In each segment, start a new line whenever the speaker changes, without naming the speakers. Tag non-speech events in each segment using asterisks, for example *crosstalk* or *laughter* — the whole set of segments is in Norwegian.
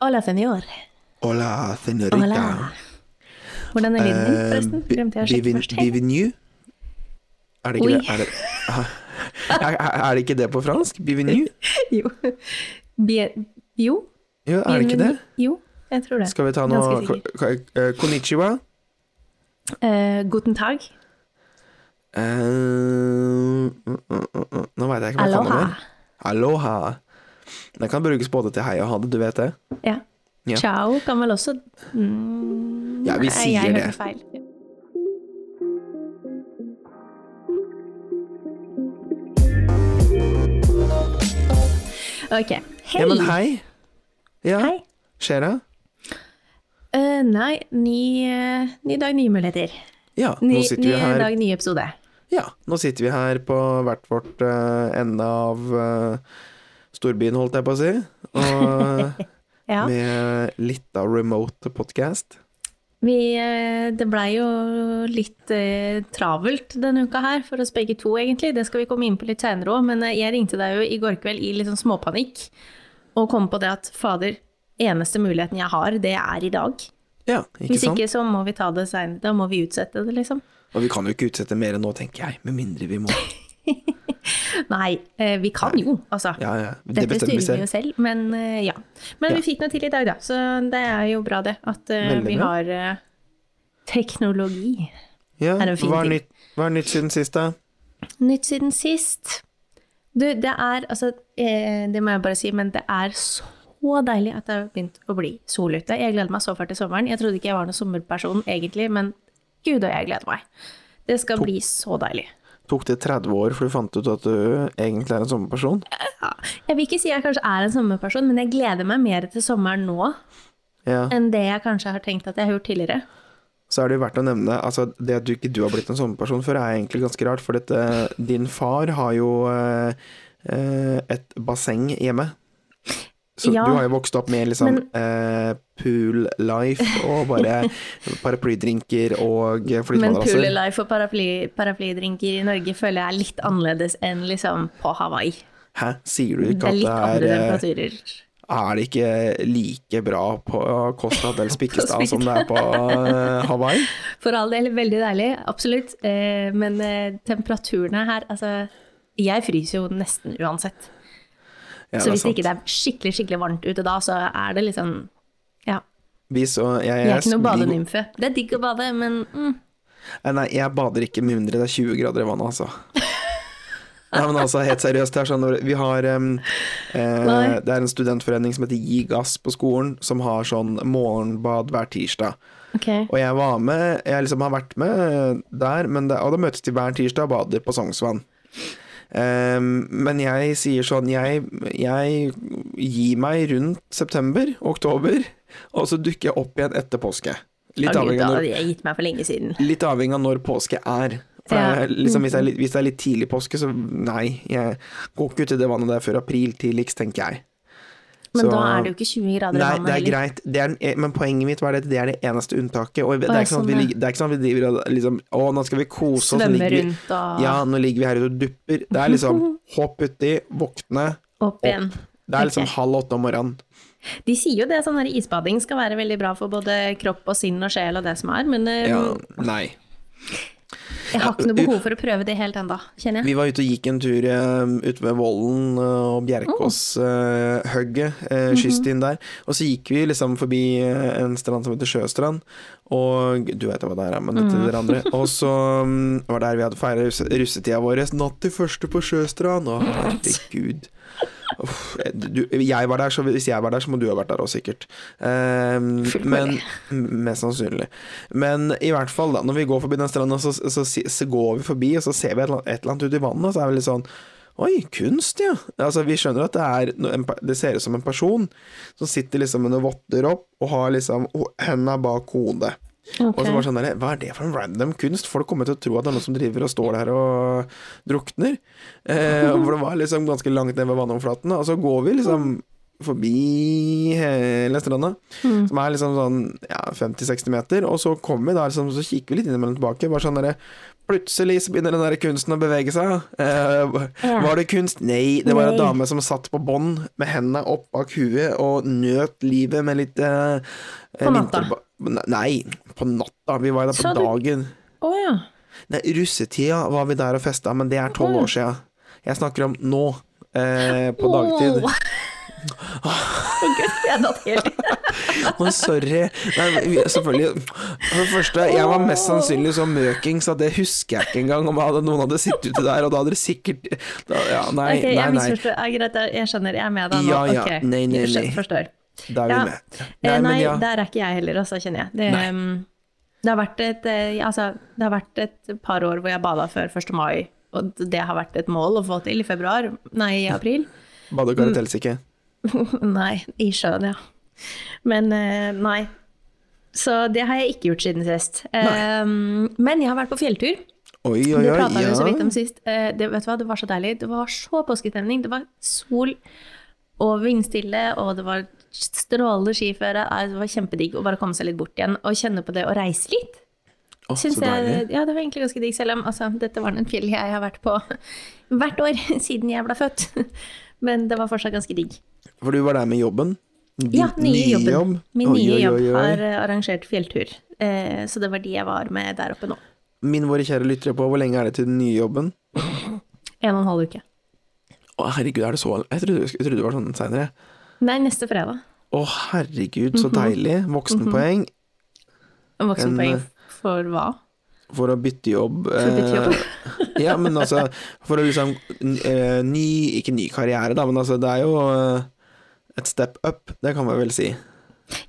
Hola, senor.
Hola, senorita.
Hola. Hvordan er lyden din,
Eh,
forresten?
bi-
Glemte jeg å sjekke
bivin-
først. Hei.
Bivinu? Er det ikke
Oi.
det? Er det, Ah. *laughs* er, er det ikke det på fransk? Bivinu?
*laughs* Jo. Bi- Jo.
Jo, er det ikke det?
Jo, jeg tror det.
Skal vi ta noe
Ganske sikker.
ko- ko- eh, Konnichiwa.
Eh, guten tag.
Eh, mm, mm, mm, mm. Nå veit jeg ikke hva jeg kan
Aloha.
mer. Aloha. Den kan brukes både til hei og ha det, du vet det?
Ja.
Ja.
Ciao kan vel også mm,
Ja, vi
nei,
sier
jeg
det.
hørte Feil. Ok. Hei!
Ja, men hei. Ja,
Hei.
skjer det?
Eh, nei, ny, eh, ny dag, nye muligheter.
Ja, nå
Ny,
sitter
ny
vi her
dag, ny episode.
Ja, nå sitter vi her på hvert vårt eh, ende av eh, storbyen, holdt jeg på å si. Og
*laughs* Ja.
med litt av remote podcast.
Vi, eh, det blei jo litt eh, travelt denne uka her, for oss begge to egentlig. Det skal vi komme inn på litt senere òg, men eh, jeg ringte deg jo i går kveld i litt sånn småpanikk. Og kom på det at fader, eneste muligheten jeg har, det er i dag.
Ja, ikke
Hvis
sant?
ikke så må vi ta det seinere. Da må vi utsette det, liksom.
Og vi kan jo ikke utsette mer enn nå, tenker jeg. Med mindre vi må.
*laughs* Nei, eh, vi kan jo, altså.
Ja, ja. Det
Dette
bestemmer
styrer
vi
vi jo
selv.
selv, men eh, ja. Men
Ja.
vi fikk noe til i dag, da. Så det er jo bra, det. At eh,
Veldig
vi
bra.
har eh, teknologi.
Ja,
Er det en fin
hva, er
ting?
nytt, hva er nytt siden sist, da?
Nytt siden sist. Du, det er altså eh, Det må jeg bare si, men det er så deilig at det har begynt å bli sol ute. Jeg gleder meg så fælt til sommeren. Jeg trodde ikke jeg var noen sommerperson egentlig, men gud og jeg gleder meg. Det skal bli så deilig.
Tok det 30 år for du fant ut at du egentlig er en sommerperson?
Ja. Jeg vil ikke si jeg kanskje er en sommerperson, men jeg gleder meg mer til sommeren nå
Ja.
enn det jeg kanskje har tenkt at jeg har gjort tidligere.
Så er det jo verdt å nevne altså det at du ikke du har blitt en sommerperson før, er egentlig ganske rart. For dette, din far har jo eh, eh, et basseng hjemme. Så
Ja.
du har jo vokst opp med liksom eh, pool life og bare
*laughs*
paraplydrinker og
Men pool
flytemadrasser.
life og paraply, paraplydrinker i Norge føler jeg er litt annerledes enn liksom på Hawaii.
Hæ, sier du
Det
ikke
er
at
litt andre
det er,
temperaturer.
eh, er det ikke like bra på Costa
*laughs*
del Spikkestad som det
Spikkestad.
er på eh, Hawaii?
For all del, veldig deilig, absolutt. Eh, men eh, temperaturene her, altså Jeg fryser jo nesten uansett.
Ja,
så hvis
sant.
ikke det er skikkelig, skikkelig varmt ute da, så er det liksom Ja.
Vi så, jeg,
Jeg er ikke noe
vi-
badenymfe. Det er digg å bade, men mm,
Eh, Nei, jeg bader ikke med mindre det er 20 grader i vannet,
*laughs*
altså. Nei, men altså, helt seriøst, det er sånn Vi har em, eh,
Nei.
Det er en studentforening som heter Gi gass på skolen, som har sånn morgenbad hver tirsdag.
OK.
Og jeg var med Jeg liksom har vært med eh, der, men det, og da møtes de hver tirsdag og bader på Sognsvann. Em, men jeg sier sånn jeg, jeg gir meg rundt september, oktober, og så dukker jeg opp igjen etter påske. Litt
Å, Gud,
avhengig
da
av når
hadde jeg gitt meg for lenge siden.
Litt avhengig av når påske er. For
Ja. Mm.
jeg, liksom, hvis, det er litt, hvis det er litt tidlig påske, så nei. Jeg går ikke ut i det vannet der før april tidligst, tenker jeg.
Men
Så-
da er det jo ikke 20 grader i
Nei,
vannet
det er
heller.
greit, det er, den- e- men poenget mitt var det at det er det eneste unntaket. Og det,
Å,
er ikke sånn at vi,
sånn, ja.
ligger- det er ikke sånn at vi driver og liksom Å, nå skal vi kose oss.
Svømme
ligger vi-
rundt og
Ja, nå ligger vi her ute og dupper. Det er
*laughs*
liksom hopp uti, våkne.
opp igjen.
Det er liksom
Ok.
halv åtte om morgenen.
De sier jo det, sånn her isbading skal være veldig bra for både kropp og sinn og sjel og det som er, men eh,
Ja, nei.
jeg har ikke noe behov for å prøve det helt ennå, kjenner jeg.
Vi var ute og gikk en tur eh, ute ved Vollen eh, og Bjerkåshøgget, uh, kyststien der. Og så gikk vi liksom forbi eh, en strand som heter Sjøstrand, og du vet hva det er, men dette er dere andre. Og så mm, var det der vi hadde feira russ russetida vår. Natt til første på Sjøstrand, å herregud. Uff, eh, du, jeg var der, så hvis jeg var der, så må du ha vært der også, sikkert. Eh, men Mest sannsynlig. Men i hvert fall, da, når vi går forbi den stranda, så, så, så, så går vi forbi, og så ser vi et eller annet, et eller annet ute i vannet, og så er vi litt sånn Oi, kunst, ja. Altså, vi skjønner at det, er, no- en, pe- det ser ut som en person som sitter liksom under votter opp og har liksom ho- henda bak hodet. Og så bare sånn der, Hva er det for en random kunst? Folk kommer til å tro at det er noen som driver og står der og
*laughs*
drukner. Eh, for det var liksom ganske langt ned ved vannoverflaten. Og så går vi liksom forbi hele stranda,
Mm.
som er liksom sånn ja, 50-60 meter, og så kommer vi da liksom, så kikker vi litt innimellom tilbake, bare sånn derre Plutselig så begynner den der kunsten å bevege seg. Eh,
Ja.
Var det kunst? Nei, det var en
Nei.
dame som satt på bånd med hendene opp bak huet og nøt livet med litt eh,
På natta.
vinterba- Nei, på natta. Vi var jo der på
Så du-
dagen.
Å ja.
Nei, russetida var vi der og festa, men det er tolv år sia. Jeg snakker om nå, eh, på dagtid.
Åh. *laughs* Å, Gud, jeg datt helt i.
Å, sorry. Nei, men vi- selvfølgelig. For det første, jeg var mest sannsynlig så møking, så det husker jeg ikke engang. Om jeg hadde, noen hadde sittet ute der, og da hadde dere sikkert da, ja, Nei,
Ok,
nei,
jeg
nei.
misforstår. Ja, greit, jeg- jeg skjønner. Jeg er med deg nå.
Ja, ja.
Ok,
Nei, nei,
jeg skjønner-
nei.
Forstår.
Da er vi
Ja.
med.
Eh,
Nei,
Nei,
men ja.
der er ikke jeg heller, altså, kjenner jeg. Det,
Nei.
um, det, har vært et, eh, altså, det har vært et par år hvor jeg bada før 1. mai, og det har vært et mål å få til i februar, nei, i april. *laughs* Mm.
Badekaret telles ikke.
nei, i sjøen, ja. Men eh, nei. Så det har jeg ikke gjort siden sist. Um, men jeg har vært på fjelltur.
Oi, oi, oi.
Det prata vi jo så
ja.
vidt om sist. Eh, det, vet du hva, det var så deilig. Det var så påskestemning. Det var sol og vindstille, og det var strålende skiføre. Nei, Det var kjempedigg å bare komme seg litt bort igjen og kjenne på det og reise litt.
Å,
Syns
så
jeg,
deilig.
ja, det var egentlig ganske digg, selv om altså, dette var en fjell jeg har vært på *laughs* hvert år *laughs* siden jeg ble født. *laughs* Men det var fortsatt ganske digg.
For du var der med jobben? Din
Ja, nye jobben. Min
Oi,
nye
oi,
jobb
oi, oi.
har eh, arrangert fjelltur, eh, så det var de jeg var med der oppe nå.
Min våre kjære lyttere på, hvor lenge er det til den nye jobben? eh,
En og en halv uke.
Å herregud, er det så Jeg trodde, jeg trodde det var sånn seinere.
Nei, neste fredag.
Å herregud,
Mhm.
så deilig. Voksenpoeng En,
Voksenpoeng
eh,
for hva?
for å bytte jobb.
å bytte jobb.
eh, *laughs* ja, men altså For å liksom n- eh, Ny, ikke ny karriere, da, men altså det er jo eh, et step up, det kan man vel si.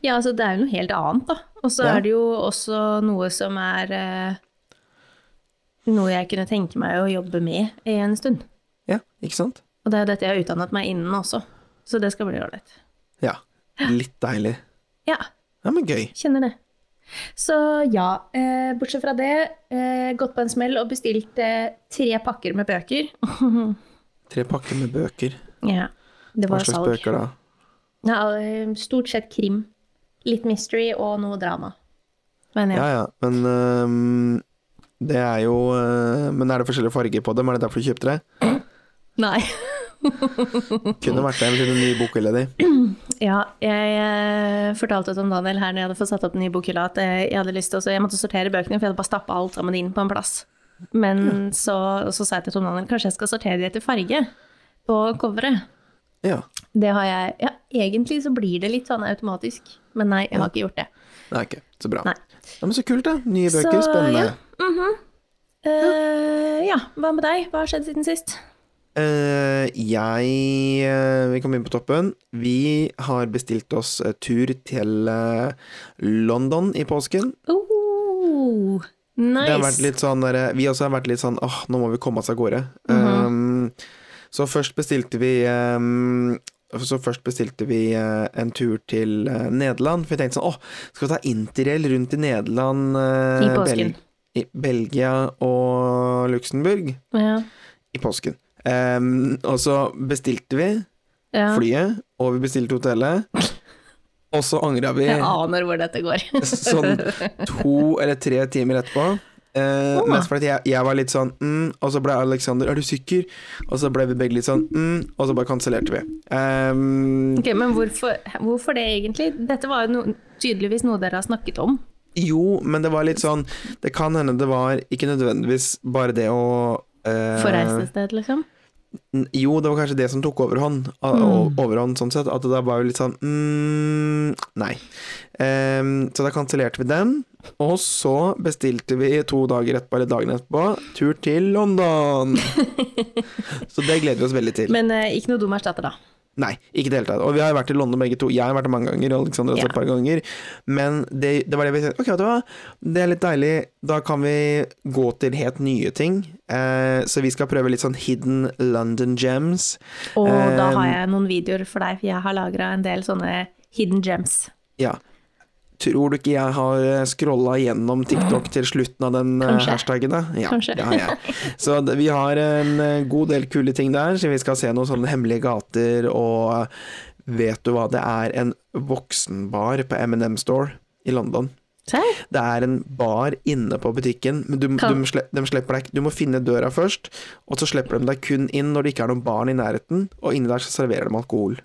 Ja, altså det er jo noe helt annet, da. Og så
Ja.
er det jo også noe som er eh, noe jeg kunne tenke meg å jobbe med i en stund.
Ja, ikke sant?
Og det er jo dette jeg har utdannet meg innen også, så det skal bli ålreit.
Ja. Litt deilig.
Ja,
Ja, men gøy.
kjenner det. Så ja, eh, bortsett fra det, eh, gått på en smell og bestilt eh, tre pakker med bøker. *laughs*
Tre pakker med bøker.
ja, det
Hva
var
slags
salg.
bøker da?
Ja, eh, stort sett krim. Litt mystery og noe drama. Men ja.
Ja ja, men øhm, det er jo øh, Men er det forskjellige farger på dem? Er det derfor du kjøpte det?
Nei.
Kunne vært det til den nye bokhylla di.
Ja, jeg eh, fortalte til Daniel her når jeg hadde fått satt opp den nye bokhylla, at eh, jeg hadde lyst til å så Jeg måtte sortere bøkene, for jeg hadde bare stappa alt sammen inn på en plass. Men så, og så sa jeg til Tom Daniel kanskje jeg skal sortere de etter farge på coveret.
Ja.
Det har jeg Ja, egentlig så blir det litt sånn automatisk, men nei, jeg har ikke gjort det.
Nei, ok. Så bra.
Nei.
Ja, men så kult, da. Nye
Så,
bøker. Spennende.
ja. Mhm. Eh, ja, hva med deg? Hva har skjedd siden sist?
Eh, jeg eh, Vi kom inn på toppen. Vi har bestilt oss eh, tur til eh, London i påsken.
Oh, nice.
Det har vært litt sånn der, Vi også har vært litt sånn åh, nå må vi komme oss av gårde.
Mhm.
um, så først bestilte vi um, så først bestilte vi eh, en tur til eh, Nederland. For vi tenkte sånn åh, skal vi ta interrail rundt i Nederland, eh,
I påsken.
Bel i Belgia og Luxembourg?
ja,
I påsken. Um, og så bestilte vi
ja.
flyet, og vi
*laughs*
bestilte hotellet. Og så angra vi
Jeg aner hvor dette går.
*laughs* sånn to eller tre timer etterpå. Eh,
Åh.
mest fordi jeg, jeg var litt sånn mm, og så ble Alexander 'er du sikker?' Og så ble vi begge litt sånn mm, og så bare kansellerte vi. Ehm,
Ok, Men hvorfor, hvorfor det egentlig? Dette var jo no, tydeligvis noe dere har snakket om.
jo, men det var litt sånn Det kan hende det var ikke nødvendigvis bare det å eh,
For reisested, liksom.
n- Jo, det var kanskje det som tok overhånd, a- o- overhånd sånn sett. At det da var jo litt sånn mm, Nei. Ehm, så da kansellerte vi den. Og så bestilte vi to dager etterpå, eller dagen etterpå, tur til London. så det gleder vi oss veldig til.
Men eh, ikke noe dum erstatter, da.
Nei, ikke i det hele tatt. Og vi har jo vært i London begge to. Jeg har vært der mange ganger, og Alexander også
Ja.
et par ganger. Men det, det var det vi sa. Ok, vet du hva, det er litt deilig. Da kan vi gå til helt nye ting. Eh, så vi skal prøve litt sånn hidden London gems.
Og da
Ehm.
har jeg noen videoer for deg, for jeg har lagra en del sånne hidden gems.
Ja. Tror du ikke jeg har scrolla gjennom TikTok til slutten av den eh,
Kanskje.
hashtagen? Da? Ja,
Kanskje.
det har jeg. Så d- vi har en eh, god del kule ting der, så vi skal se noen sånne hemmelige gater og eh, Vet du hva, det er en voksenbar på M&M Store i London.
Serr?
Det er en bar inne på butikken, men du,
Kan-
de, sle- de slipper deg ikke Du må finne døra først, og så slipper de deg kun inn når det ikke er noen barn i nærheten, og inni der så serverer de alkohol.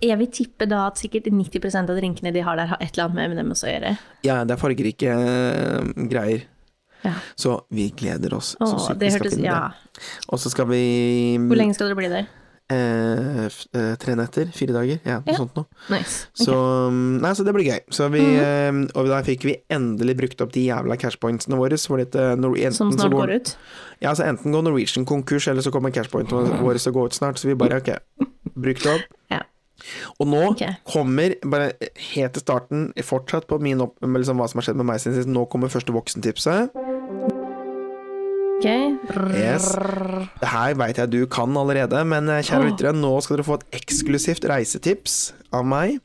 Jeg vil tippe da at sikkert 90 av drinkene de har der, har et eller annet med M&M's å gjøre.
Ja, det er fargerike eh, greier.
Ja.
Så vi gleder oss så
Åh,
sykt.
det
Vi skal
hørtes
finne
Ja.
det. Og så skal vi mm,
Hvor lenge skal dere bli der?
Eh, f- eh, tre netter, fire dager, ja, noe
Ja.
sånt noe.
Nice. Ok. Mhm.
Så, um, nei, så det blir gøy. Så vi, eh, og da fikk vi endelig brukt opp de jævla cashpointsene våre. Så var det et, eh, Nor- enten,
Som
så
snart går ut?
Ja, så enten går Norwegian konkurs, eller så kommer cashpointene våre til å gå ut snart. Så vi bare ok, bruk det opp.
Ja.
Og nå
Ok.
kommer, bare helt til starten, fortsatt på min opp, med liksom hva som har skjedd med meg siden sist, nå kommer første voksentipset.
Ok.
Yes. Det her veit jeg du kan allerede, men eh, kjære lyttere, nå skal dere få et eksklusivt reisetips av meg.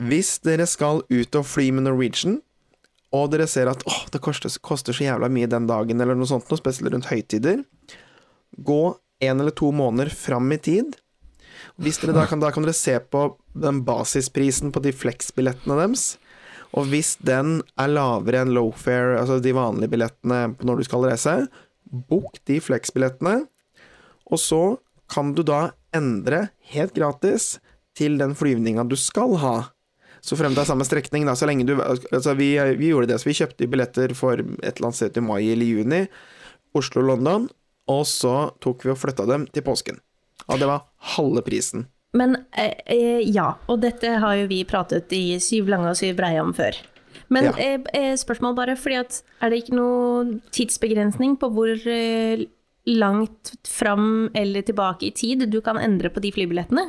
Hvis dere skal ut og fly med Norwegian, og dere ser at åh, det koster, koster så jævla mye den dagen, eller noe sånt, noe spesielt rundt høytider, gå en eller to måneder fram i tid. Hvis dere da, kan, da kan dere se på den basisprisen på de flex-billettene deres. Og hvis den er lavere enn lowfare, altså de vanlige billettene på når du skal reise, bok de flex-billettene. Og så kan du da endre, helt gratis, til den flyvninga du skal ha. Så frem til samme strekning, da, så lenge du Altså, vi, vi gjorde det, så vi kjøpte billetter for et eller annet sted i mai eller juni. Oslo-London. Og så tok vi og flytta dem til påsken. Og det var halve prisen.
Men eh, eh, ja, og dette har jo vi pratet i syv lange og syv breie om før. Men
Ja.
eh, eh, spørsmål bare, fordi at er det ikke noe tidsbegrensning på hvor eh, langt fram eller tilbake i tid du kan endre på de flybillettene?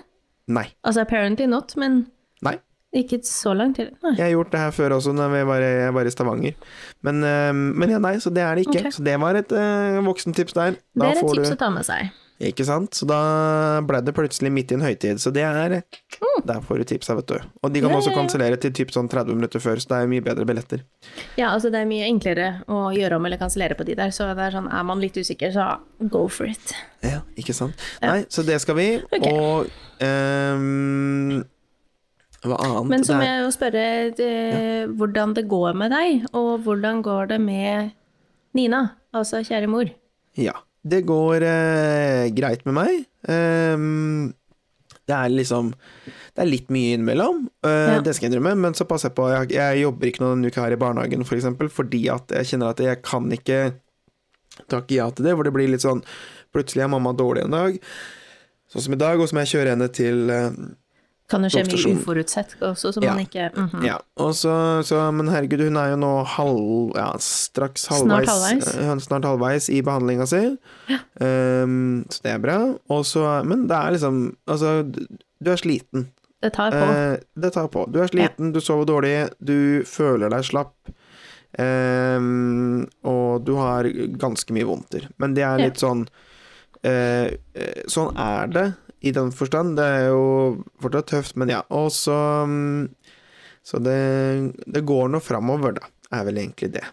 Nei.
Altså apparently not, men
Nei.
ikke så langt til. Nei.
Jeg har gjort det her før også, når jeg var, jeg var i Stavanger. Men, eh, men ja, nei, så det er det ikke.
Ok.
Så det var et eh, voksentips der.
Det
Da
er et
får
tips
du
å ta med seg.
Ikke sant? Så da ble det plutselig midt i en høytid. Så det er Der får du tipsa, vet du. Og de kan
Mm. Ja,
også
ja, ja.
kansellere til typ sånn 30 minutter før, så det er mye bedre billetter.
Ja, altså det er mye enklere å gjøre om eller kansellere på de der, så det er sånn, er man litt usikker, så go for it.
Ja, ikke sant? Nei, så det skal vi.
Ok.
Og ehm, Hva annet?
Men så må
Det er-
jeg jo spørre eh, hvordan det går med deg, og hvordan går det med Nina, altså kjære mor?
Ja. Det går eh, greit med meg. Ehm, det er liksom Det er litt mye innimellom, eh,
Ja.
det skal jeg innrømme, men så passer jeg på. Jeg, jeg jobber ikke noen uke her i barnehagen, for eksempel, fordi at jeg kjenner at jeg kan ikke takke ja til det, hvor det blir litt sånn Plutselig er mamma dårlig en dag, sånn som i dag, og så må jeg kjøre henne til eh,
Kan jo skje mye
Doktorsjonen.
uforutsett også, så
Ja.
man ikke mhm.
Ja, og så, så Men herregud, hun er jo nå halv, ja, straks
Snart
halvveis,
halvveis.
eh, snart halvveis i behandlinga si. Ehm, så det er bra. Og så Men det er liksom Altså, du- du er sliten.
Det tar på.
Eh, det tar på. Du er sliten, du sover dårlig, du føler deg slapp. ehm, og du har ganske mye vondter. Men det er
Ja.
litt sånn eh, eh, Sånn er det, i den forstand. Det er jo fortsatt tøft, men ja. Og så mm, Så det, det går nå framover, da. Er vel egentlig det.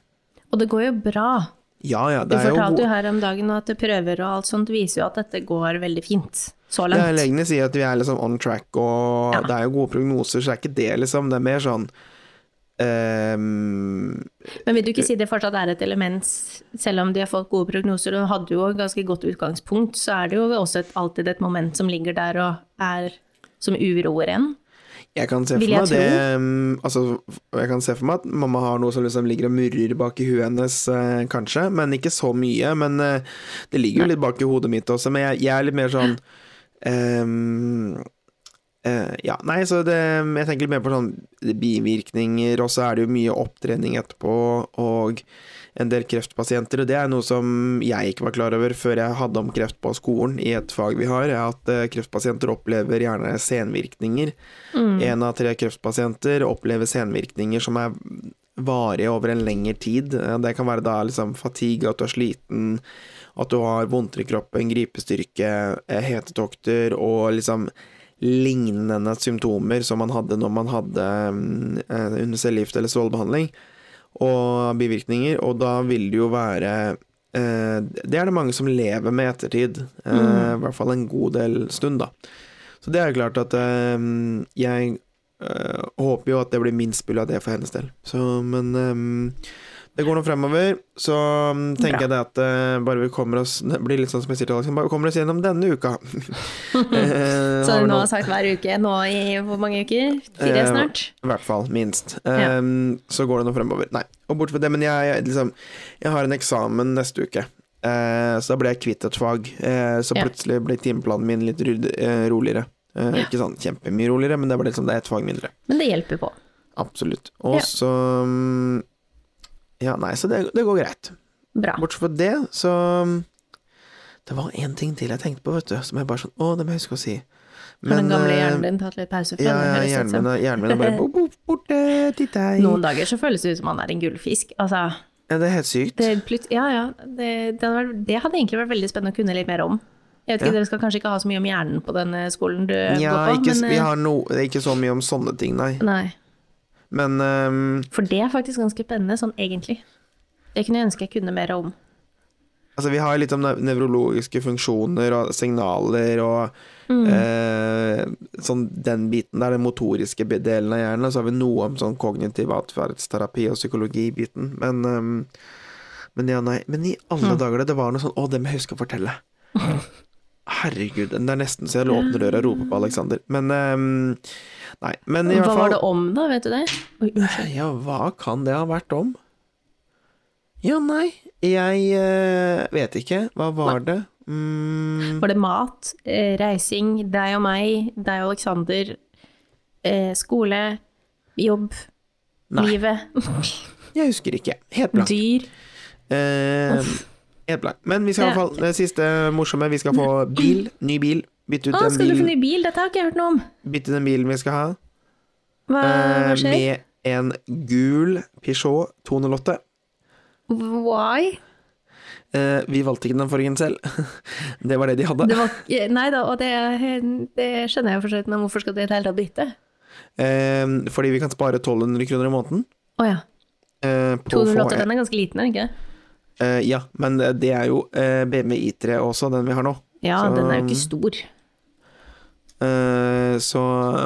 Og det går jo bra.
Ja ja,
Du
det er jo
fortalte jo her om dagen at prøver og alt sånt viser jo at dette går veldig fint så
Ja,
langt.
legene sier at vi er liksom on track, og
Ja.
det er jo gode prognoser, så det er ikke det, liksom. Det er mer sånn ehm,
Men vil du ikke si det fortsatt er et element, selv om de har fått gode prognoser og hadde jo et ganske godt utgangspunkt, så er det jo også et, alltid et moment som ligger der og er som uroer en?
Jeg kan se
Vil jeg
for meg det mm, Altså, jeg kan se for meg at mamma har noe som liksom ligger og murrer bak i huet hennes, eh, kanskje, men ikke så mye. Men eh, det ligger jo litt bak i hodet mitt også, men jeg, jeg er litt mer sånn ehm, eh, ja, nei, så det Jeg tenker litt mer på sånn bivirkninger, og så er det jo mye opptrening etterpå, og en del kreftpasienter, og det er noe som jeg ikke var klar over før jeg hadde om kreft på skolen i et fag vi har, er at eh, kreftpasienter opplever gjerne senvirkninger. En av tre kreftpasienter opplever senvirkninger som er varige over en lengre tid. Eh, Det kan være da liksom fatigue, at du er sliten, at du har vondter i kroppen, gripestyrke, eh, hetetokter og liksom lignende symptomer som man hadde når man hadde mm, eh, under cellegift eller strålebehandling, og bivirkninger. Og da vil det jo være
Mm.
eh, Det er det mange som lever med i ettertid. eh, I hvert fall en god del stund, da. Så Så det er jo klart at eh, jeg eh, håper jo at det blir minst mulig av det for hennes del. Så, men eh, det går nå fremover. Så mm, tenker
Bra.
jeg det at eh, bare vi kommer oss Det blir litt sånn som jeg sier til Alexander, bare vi kommer oss gjennom denne uka.
*laughs*
*laughs* Eh,
Så
har
du
vi
nå
nå-
har sagt hver uke nå i hvor mange uker? Fire
Eh,
snart?
I hvert fall, minst.
Ja.
Ehm, Så går det nå fremover. Nei, og bort fra det, men jeg, jeg, liksom, jeg har en eksamen neste uke. Eh, så da ble jeg kvitt et fag. Eh, så
Ja.
plutselig ble timeplanen min litt ryd, eh, roligere. Eh,
Ja.
Ikke sånn kjempemye roligere, men det ble liksom det er et fag mindre.
Men det hjelper på.
Absolutt.
Ja.
Og så mm, Ja, nei, så det, det går greit.
Bra.
Bortsett fra det, så mm, Det var én ting til jeg tenkte på, vet du, som jeg bare sånn Å, det må jeg huske å si.
Har den gamle
eh,
hjernen din tatt litt pause fra
ja,
det,
ja,
høres det ut
hjernen
som?
min, er- hjernen min er
*laughs*
bare bo- bo- borte til deg.
Noen dager så føles det ut som han er en gullfisk. Altså,
Ja, det er helt sykt.
det, plut- ja, ja, det, det, hadde vært, det hadde egentlig vært veldig spennende å kunne litt mer om. Jeg vet ikke,
Ja.
Dere skal kanskje ikke ha så mye om hjernen på den eh, skolen du
ja,
går på,
ikke, s-
men
vi
eh,
har no, det er ikke så mye om sånne ting, nei.
Nei.
Men ehm,
For det er faktisk ganske spennende, sånn egentlig. Det kunne jeg ønske jeg kunne mer om.
altså, vi har litt om nev- nevrologiske funksjoner og signaler og
Mm.
eh, sånn den biten der, den motoriske be- delen av hjernen. Og så har vi noe om sånn kognitiv atferdsterapi og psykologi-biten. Men, ehm, men ja, nei. Men i alle
Mm.
dager, det var noe sånn Å, det må jeg huske å
*laughs*
fortelle. Herregud. Det er nesten så jeg åpner døra og roper på Aleksander. Men ehm, Nei. Men i
Hva
hvert fall
var det om, da? Vet du det? Oi, unnskyld.
*clears throat* Ja, hva kan det ha vært om? Ja, nei, jeg eh, vet ikke. Hva var det? Mm,
Var det mat, eh, reising, deg og meg, deg og Aleksander, eh, skole, jobb,
Nei.
livet,
jeg husker ikke. Helt *laughs* blank.
dyr?
Eh, helt blank. Men vi skal i
Ja.
hvert fall Det siste morsomme, vi skal få bil. Ny bil. Bytte
Å,
ut den
Ah, skal du få
bilen,
ny bil? Dette har ikke jeg hørt noe om.
bytte den bilen vi skal ha,
Hva,
eh,
Ah, hva skjer?
med en gul Peugeot 208.
Why?
Eh, vi valgte ikke den forrige selv. *laughs* det var det de hadde.
Det var, eh, nei da, og det, det skjønner jeg jo for så vidt, men hvorfor skal du i det hele tatt bytte?
Eh, fordi vi kan spare 1200 kroner i måneden.
Å ja.
eh, på å få
208, den er ganske liten, er den ikke det?
Eh, ja, men det det er jo eh, BMW I3 også, den vi har nå.
Ja,
Så-
den er jo ikke stor.
Eh, så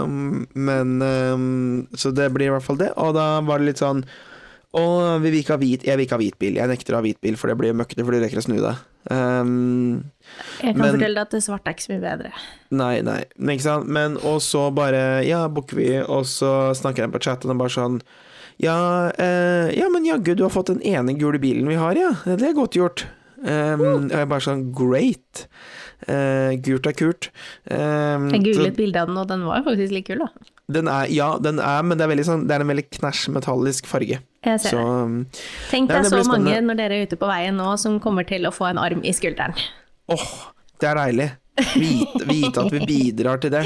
mm, Men eh, Så det blir i hvert fall det. Og da var det litt sånn Å, vi vil ikke ha hvit Jeg vil ikke ha hvit bil. Jeg nekter å ha hvit bil, for det blir møkkete, for du rekker å snu deg. Um,
Jeg kan
Men-
fortelle deg at det svarte er ikke så mye bedre.
Nei, nei, men ikke sant Men og så bare, ja, booker vi Og så snakker jeg på chatten og bare sånn Ja, eh, ja men jaggu Du har fått den ene gule bilen vi har, ja Det er godt gjort um,
Mm.
Og jeg bare sånn, great Eh, Gult er kult um,
Jeg
så
googlet bildet av den, og den var jo faktisk litt kul, da.
den er, Ja, den er, men det er, veldig sånn, det er en veldig knæsj metallisk farge
Jeg ser det.
Så um,
Tenk
Nei,
deg
det
så
blir
mange
spennende.
når dere er ute på veien nå, som kommer til å få en arm i skulderen.
Åh, det er deilig. Vite, vite at vi bidrar til det.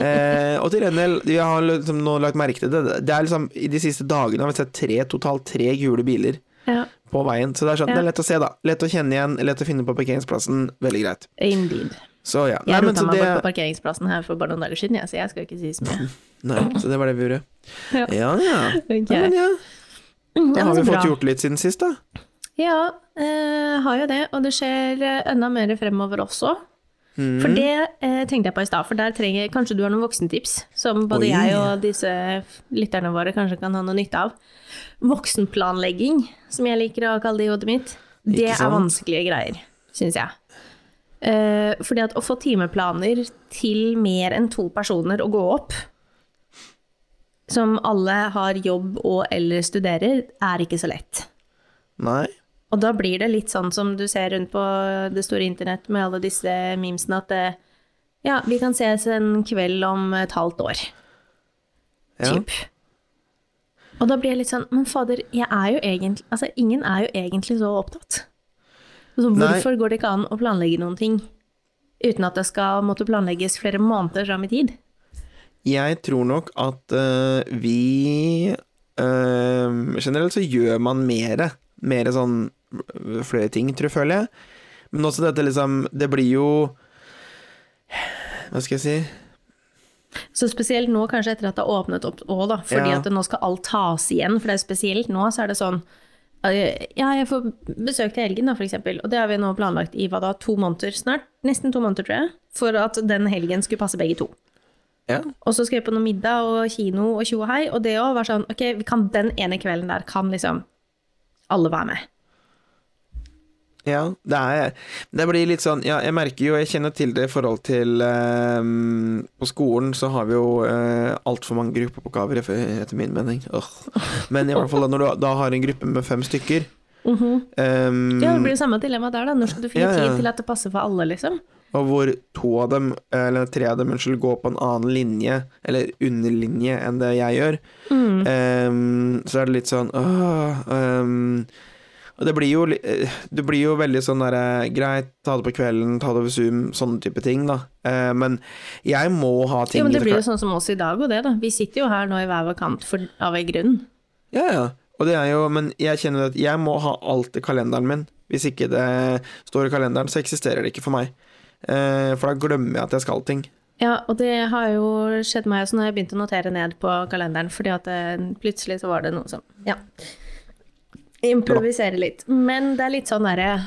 Eh, og til en del, jeg har liksom nå lagt merke til det, det er liksom i de siste dagene har vi sett tre, totalt tre gule biler
Ja,
på veien. Så det er sånn, det er lett å se da. Lett å kjenne igjen, lett å finne på parkeringsplassen. Veldig greit.
indeed.
Så ja.
Jeg
Nei, men
rota
så
meg
det,
bort på parkeringsplassen her for bare noen dager siden, jeg, så jeg skal ikke si så
*laughs*
mye.
nei, så det var det vi gjorde.
Ja.
Ja, ja.
Ok.
Ja, men ja.
Ja,
Da har
men så
vi
bra.
fått gjort litt siden sist, da.
Ja, eh, har jo det, og det skjer eh, enda mer fremover også.
Mm.
For det eh, tenkte jeg på i stad, for der trenger kanskje du har noen voksentips som både
Oi.
jeg og disse lytterne våre kanskje kan ha noe nytte av. Voksenplanlegging, som jeg liker å kalle det i hodet mitt, det er
sant?
vanskelige greier, syns jeg. Eh, fordi at å få timeplaner til mer enn to personer å gå opp, som alle har jobb og eller studerer, er ikke så lett.
Nei.
Og da blir det litt sånn som du ser rundt på det store internett med alle disse memesene, at eh, ja, vi kan ses en kveld om et halvt år,
Ja.
typ. Og da blir jeg litt sånn, men fader, jeg er jo egentlig, altså ingen er jo egentlig så opptatt. Så hvorfor går det ikke an å planlegge noen ting uten at det skal måtte planlegges flere måneder fram i tid?
Jeg tror nok at øh, vi øh, Generelt så gjør man mere. Mere sånn øh, flere ting, tror jeg, føler jeg. Men også dette liksom Det blir jo Hva skal jeg si?
Så spesielt nå, kanskje etter at det har åpnet opp òg, da. Fordi
Ja.
at det nå skal alt tas igjen. For det er spesielt nå, så er det sånn eh, Ja, jeg får besøk til helgen, da, for eksempel. Og det har vi nå planlagt i hva da, to måneder snart? Nesten to måneder, tror jeg. For at den helgen skulle passe begge to.
Ja.
Og så skal vi på noe middag og kino og tjo og hei. Og det òg var sånn Ok, vi kan den ene kvelden der kan liksom alle være med.
Ja, det er Det blir litt sånn Ja, jeg merker jo Jeg kjenner til det i forhold til eh, På skolen så har vi jo uh, altfor mange gruppeoppgaver, if- etter min mening. Åh. Men i hvert fall da, når du da har en gruppe med fem stykker eh,
Ja, det blir det samme dilemma der, da. Når skal du finne
Ja, ja.
tid til at det passer for alle, liksom?
Og hvor to av dem, eller tre av dem, unnskyld, går på en annen linje, eller underlinje, enn det jeg gjør. Mm.
Mm.
Ehm, så er det litt sånn åh, ehm, Og det blir jo li- eh, Det blir jo veldig sånn derre Greit, ta det på kvelden, ta det over Zoom, sånne type ting, da. Eh, men jeg må ha ting
Jo, men det
til-
blir jo sånn som oss i dag og det, da. Vi sitter jo her nå i hver vår kant for, av en grunn.
Ja, ja. Og det er jo, men jeg kjenner at jeg må ha alt i kalenderen min. Hvis ikke det står i kalenderen, så eksisterer det ikke for meg. Eh, for da glemmer jeg at jeg skal ting.
Ja, og det har jo skjedd meg også når jeg begynte å notere ned på kalenderen, fordi at eh, plutselig så var det noe som Ja. Improvisere litt. Men det er litt sånn derre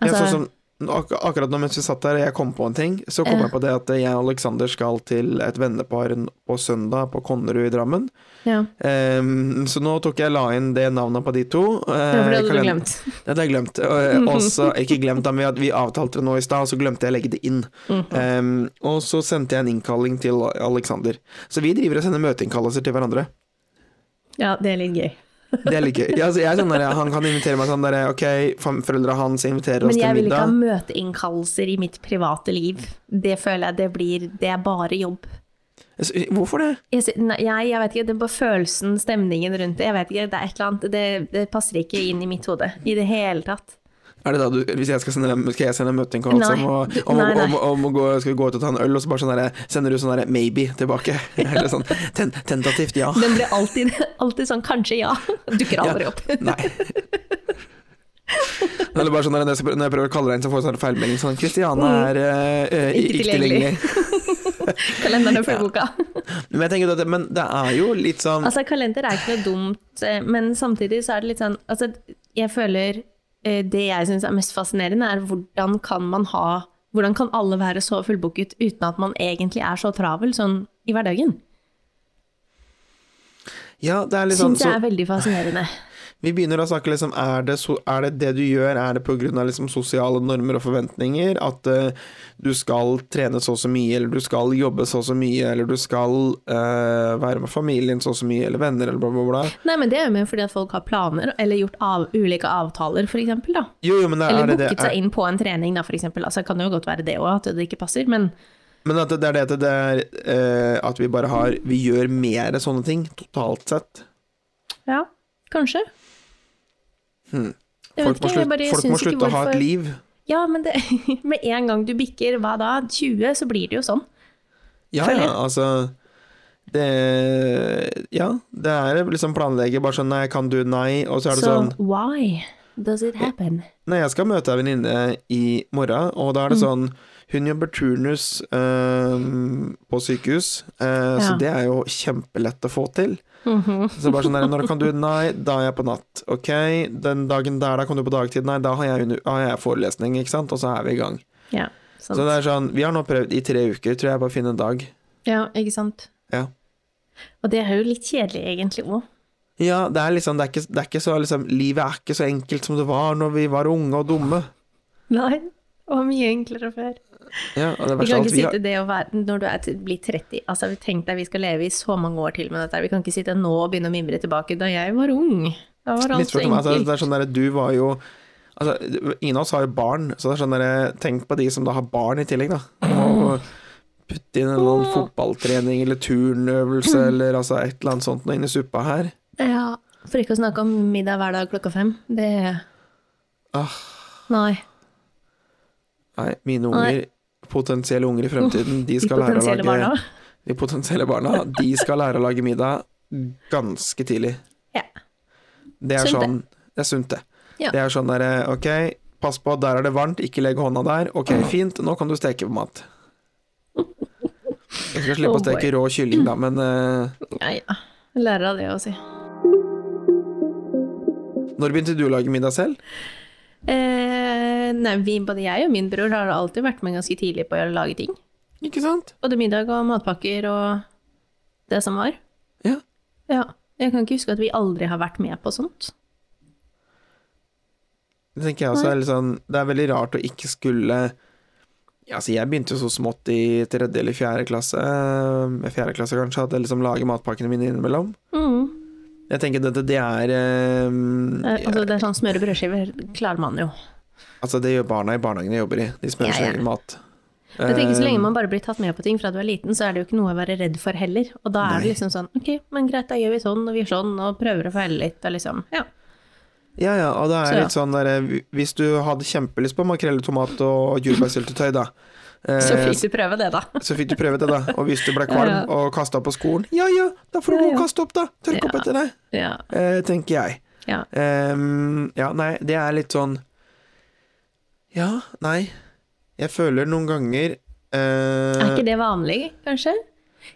altså,
ja, sånn som, ak akkurat nå mens vi satt der og jeg kom på en ting, så kom
Ja.
jeg på det at jeg og Aleksander skal til et vennepar n- på søndag på Konnerud i Drammen.
ja,
Ehm, så nå tok jeg la inn det navnet på de to.
ja, for det
eh,
hadde du
kalend-
glemt.
Det hadde jeg glemt. Og også,
*laughs*
ikke glemt, da, men vi had- vi avtalte det nå i stad, og så glemte jeg å legge det inn.
Mhm.
Ehm, og så sendte jeg en innkalling til Aleksander. Så vi driver og sender møteinnkallelser til hverandre.
Ja, det er litt gøy.
Det er litt gøy. Ja, altså, jeg er sånn der, han kan invitere meg sånn der, ok, foreldra hans inviterer oss
Men
til middag.
jeg vil ikke ha møteinnkallelser i mitt private liv. Det føler jeg det blir Det er bare jobb.
Altså, Hvorfor det?
Jeg, sy- nei, jeg, jeg vet ikke, det er bare følelsen, stemningen rundt det. Jeg vet ikke, Det er et eller annet, det, det passer ikke inn i mitt hode i det hele tatt.
Er det da du, hvis jeg skal sende dem, skal jeg sende dem møteinnkallelse altså, om,
Nei,
å-
du-
om, å-
nei, nei.
om, om å gå, skal vi gå ut og ta en øl, og så bare sånn derre Sender du sånn derre maybe
*laughs*
tilbake? Eller sånn ten, tentativt ja.
Den blir alltid, *laughs* alltid sånn kanskje ja. *laughs* Dukker aldri
Ja.
opp.
Nei. Eller bare sånn der, når jeg prøver- når jeg prøver å kalle deg inn, så får jeg sånn feilmelding sånn Kristiane er eh,
Mm.
eh,
Ikke
ikke
tilgjengelig.
tilgjengelig. *laughs*
Kalenderen er fullboka.
Men jeg tenker at det, men det er jo litt sånn
Altså, kalender er ikke noe dumt, eh, men samtidig så er det litt sånn Altså, jeg føler eh, det jeg syns er mest fascinerende, er hvordan kan man ha Hvordan kan alle være så fullbooket uten at man egentlig er så travel sånn i hverdagen?
Ja, det er litt sånn
Syns jeg
så,
er veldig fascinerende.
Vi begynner å snakke liksom er det, so er det det du gjør, er det pga. Liksom sosiale normer og forventninger? At eh, du skal trene så og så mye, eller du skal jobbe så og så mye, eller du skal eh, være med familien så og så mye, eller venner, eller bla, bla, bla.
Nei, men det er jo mer fordi at folk har planer, eller gjort av, ulike avtaler, for eksempel, da.
Jo, jo, men det, er
Eller
det, det,
booket seg
er,
inn på en trening, da, for eksempel. Altså, det kan jo godt være det òg, at det ikke passer, men
men at det, det er det at det er eh, at vi bare har Vi gjør mer sånne ting, totalt sett.
ja, kanskje. Jeg vet
Hmm. Folk
ikke,
må
jeg
slutte,
bare
folk må
syns ikke
slutte å ha et
hvorfor
liv.
Ja, men det, *laughs* med en gang du bikker hva da, 20, så blir det jo sånn.
Ja,
Føler
ja,
jeg.
altså det, Ja, det er liksom planlegge bare sånn Nei, kan du? Nei. Og så er det
Så
sånn
why does it happen?
Nei, jeg skal møte ei venninne i morgen, og da
Mm.
er det sånn Hun jobber turnus øhm, på sykehus, eh,
Ja.
så
Mhm.
det er jo kjempelett å få til. Så bare sånn der, Når
*laughs*
kan du? Nei, da er jeg på natt. Ok, den dagen der, da kan du på dagtid? Nei, da har jeg, under, har jeg forelesning, ikke sant? Og så er vi i gang.
Ja, sant.
Så det er sånn Vi har nå prøvd i tre uker, tror jeg, på å finne en dag.
ja ikke sant?
Ja.
Og det er jo litt kjedelig egentlig òg.
Ja, det er liksom, det er ikke, det er ikke så liksom, Livet er ikke så enkelt som det var når vi var unge og dumme.
Nei, det var mye enklere før.
Ja, og det
Vi
verste
kan
av alt,
ikke
vi har-
sitte det å være, når du er til, blir 30, altså vi tenkte deg vi skal leve i så mange år til med dette, her. vi kan ikke sitte nå og begynne å mimre tilbake, da jeg var ung. Da var alt så
Misforstå meg, altså,
enkelt.
det er sånn der, du var jo altså, Ingen av oss har jo barn, så det er sånn der, tenk på de som da har barn i tillegg, da. Og putte inn en eller annen fotballtrening eller turnøvelse
Hmm.
eller altså, et eller annet sånt noe inn i suppa her.
Ja, for ikke å snakke om middag hver dag klokka fem, det...
Ah.
Nei.
Nei, mine unger, potensielle unger i fremtiden, de skal lære å
potensielle
lage
barna.
De potensielle barna, de skal lære å lage middag ganske tidlig.
Ja.
Det er
Sunt, det.
sånn Det er sunt, det.
Ja.
Det er sånn derre Ok, pass på, der er det varmt, ikke legg hånda der. Ok, fint, nå kan du steke mat. Jeg skal slippe
Oh
å steke
boy.
rå kylling, da, men eh,
Ja, ja. Jeg Lærer av det å si.
Når begynte du å lage middag selv?
Eh, nei, vi, både jeg og min bror har alltid vært med ganske tidlig på å lage ting.
ikke sant?
Både middag og matpakker og det som var.
Ja.
Ja. Jeg kan ikke huske at vi aldri har vært med på sånt.
Det tenker jeg også er litt sånn Det er veldig rart å ikke skulle ja, altså Jeg begynte jo så smått i tredje eller fjerde klasse, eh, fjerde klasse kanskje, at jeg liksom lager matpakkene mine innimellom.
Mm.
Jeg tenker dette, det er eh,
Eh, Altså, det er sånn smøre brødskiver klarer man jo.
Altså, det gjør barna i barnehagen jeg jobber i. De smører
Ja,
sin
ja.
egen mat.
Jeg tenker Så
Eh,
lenge man bare blir tatt med på ting fra du er liten, så er det jo ikke noe å være redd for heller. Og da er det
Nei.
liksom sånn Ok, men greit, da gjør vi sånn, og vi gjør sånn, og prøver å feile litt, og liksom Ja.
Eh, Ja, ja, og
Så
det er
ja.
litt sånn der eh, Hvis du hadde kjempelyst på makrell i tomat og jordbærsyltetøy, da. eh,
Så fikk du prøve det, da.
så fikk du prøvd det, da. Og hvis du ble
Ja,
kvalm
ja.
og kasta på skolen, ja ja, da får du
Ja,
gå og
ja.
kaste opp, da. Tørk opp
Ja.
etter deg,
Ja.
eh, tenker jeg.
ja.
Ehm, ja, nei, det er litt sånn Ja, nei. Jeg føler noen ganger
Er
eh,
ikke det vanlig, kanskje?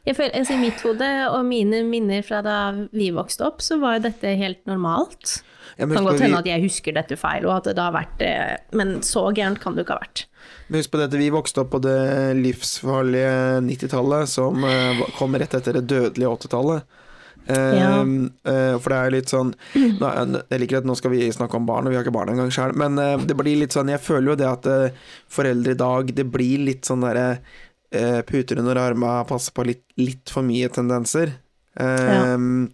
Jeg føler, altså I mitt hode og mine minner fra da vi vokste opp, så var jo dette helt normalt.
jeg må
Det kan
huske
godt
på- vi-
hende at jeg husker dette feil, og at det da har vært eh, Men så gærent kan det jo ikke ha vært.
Men Husk på dette, vi vokste opp på det livsfarlige 90-tallet, som eh, var- kom rett etter det dødelige 80-tallet. Eh,
Ja.
eh, for det er jo litt sånn nå, Jeg liker at nå skal vi snakke om barn, og vi har ikke barn engang sjøl, men eh, det blir litt sånn Jeg føler jo det at eh, foreldre i dag Det blir litt sånn derre eh, puter under arma, passer på litt, litt for mye tendenser. Eh,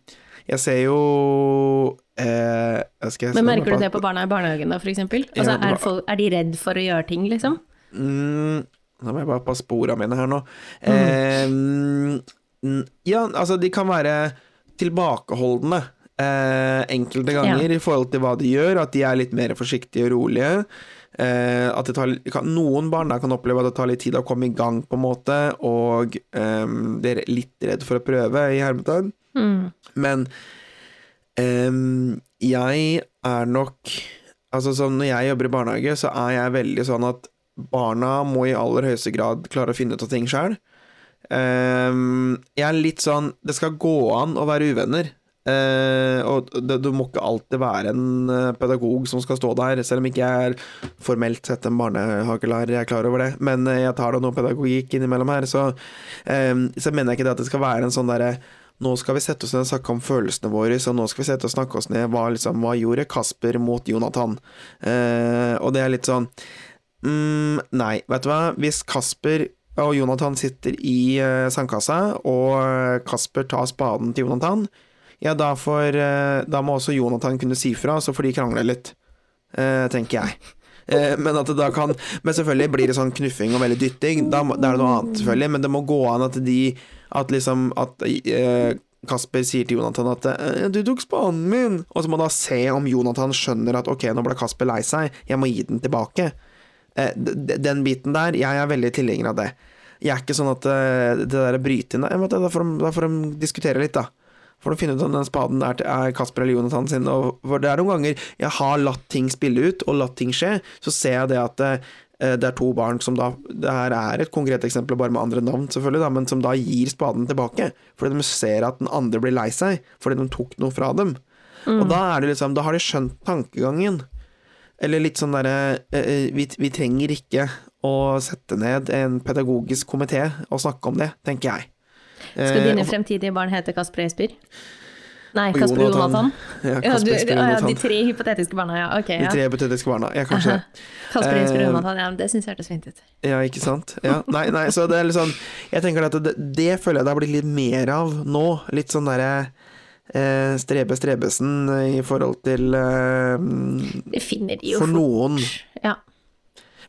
Jeg ser jo eh, skal jeg si
Men
noe?
merker du det på barna i barnehagen da, f.eks.? Altså,
Ja, det var-
er, folk- er de redd for å gjøre ting, liksom?
Mm, nå må jeg bare passe på ordene mine her nå. Eh, mm, ja, altså de kan være tilbakeholdne eh, enkelte ganger i forhold til hva de gjør, at de er litt mer forsiktige og rolige. Eh, at det tar, litt- kan, noen barn da kan oppleve at det tar litt tid å komme i gang, på en måte, og eh, de er litt redd for å prøve, i hermetegn.
Mm.
Men ehm, jeg er nok Altså sånn når jeg jobber i barnehage, så er jeg veldig sånn at barna må i aller høyeste grad klare å finne ut av ting sjøl. jeg er litt sånn Det skal gå an å være uvenner. Eh, og det, du må ikke alltid være en eh, pedagog som skal stå der, selv om ikke jeg er formelt sett en barnehagelærer, jeg er klar over det, men eh, jeg tar da noe pedagogikk innimellom her, så, eh, så mener jeg ikke det at det skal være en sånn derre nå skal vi sette oss ned og snakke om følelsene våre, så nå skal vi sette og snakke oss ned hva, liksom, hva gjorde Kasper mot Jonathan? Eh, og det er litt sånn mm, Nei, vet du hva, hvis Kasper og Jonathan sitter i eh, sandkassa, og eh, Kasper tar spaden til Jonathan, ja, da, får, eh, da må også Jonathan kunne si fra, så får de krangle litt, eh, tenker jeg. Eh, Men, at det da kan, men selvfølgelig blir det sånn knuffing og veldig dytting. Da, må- da er det noe annet, selvfølgelig. Men det må gå an at de At liksom At eh, Kasper sier til Jonathan at eh, 'Du tok spanen min!' Og så må han da se om Jonathan skjønner at 'Ok, nå ble Kasper lei seg. Jeg må gi den tilbake'. Eh, d- d- Den biten der, jeg er veldig tilhenger av det. Jeg er ikke sånn at eh, det der bryter inn Nei, vet du, Da får de- da får de diskutere litt, da. For å finne ut om den spaden er, til- er Kasper eller Jonathan sin. Og for det er noen ganger jeg har latt ting spille ut, og latt ting skje, så ser jeg det at eh, det er to barn som da Det her er et konkret eksempel, bare med andre navn, selvfølgelig, da, men som da gir spaden tilbake. Fordi de ser at den andre blir lei seg, fordi de tok noe fra dem.
Mm.
Og da er det liksom Da har de skjønt tankegangen. Eller litt sånn derre eh, eh, vi, vi trenger ikke å sette ned en pedagogisk komité og snakke om det, tenker jeg.
Skal
Eh,
dine
og-
fremtidige barn hete Kasper Esbjørn? Nei,
og
Kasper Jonathan.
Ja,
Ja, du,
Kasper Esbjørn
ja, ja,
Jonathan.
de tre hypotetiske barna, ja. Ok,
De
ja.
tre hypotetiske barna. Ja, kanskje
*laughs*
det.
Kasper
Eh,
Esbjørn Jonathan, ja, men det syns jeg hørtes fint ut.
Ja, ikke sant? Ja. Nei, nei, så det er litt sånn Jeg tenker at det, det føler jeg det har blitt litt mer av nå. Litt sånn derre eh, Strebe Strebesen i forhold til eh,
Det finner de jo
For
fort.
noen
Ja.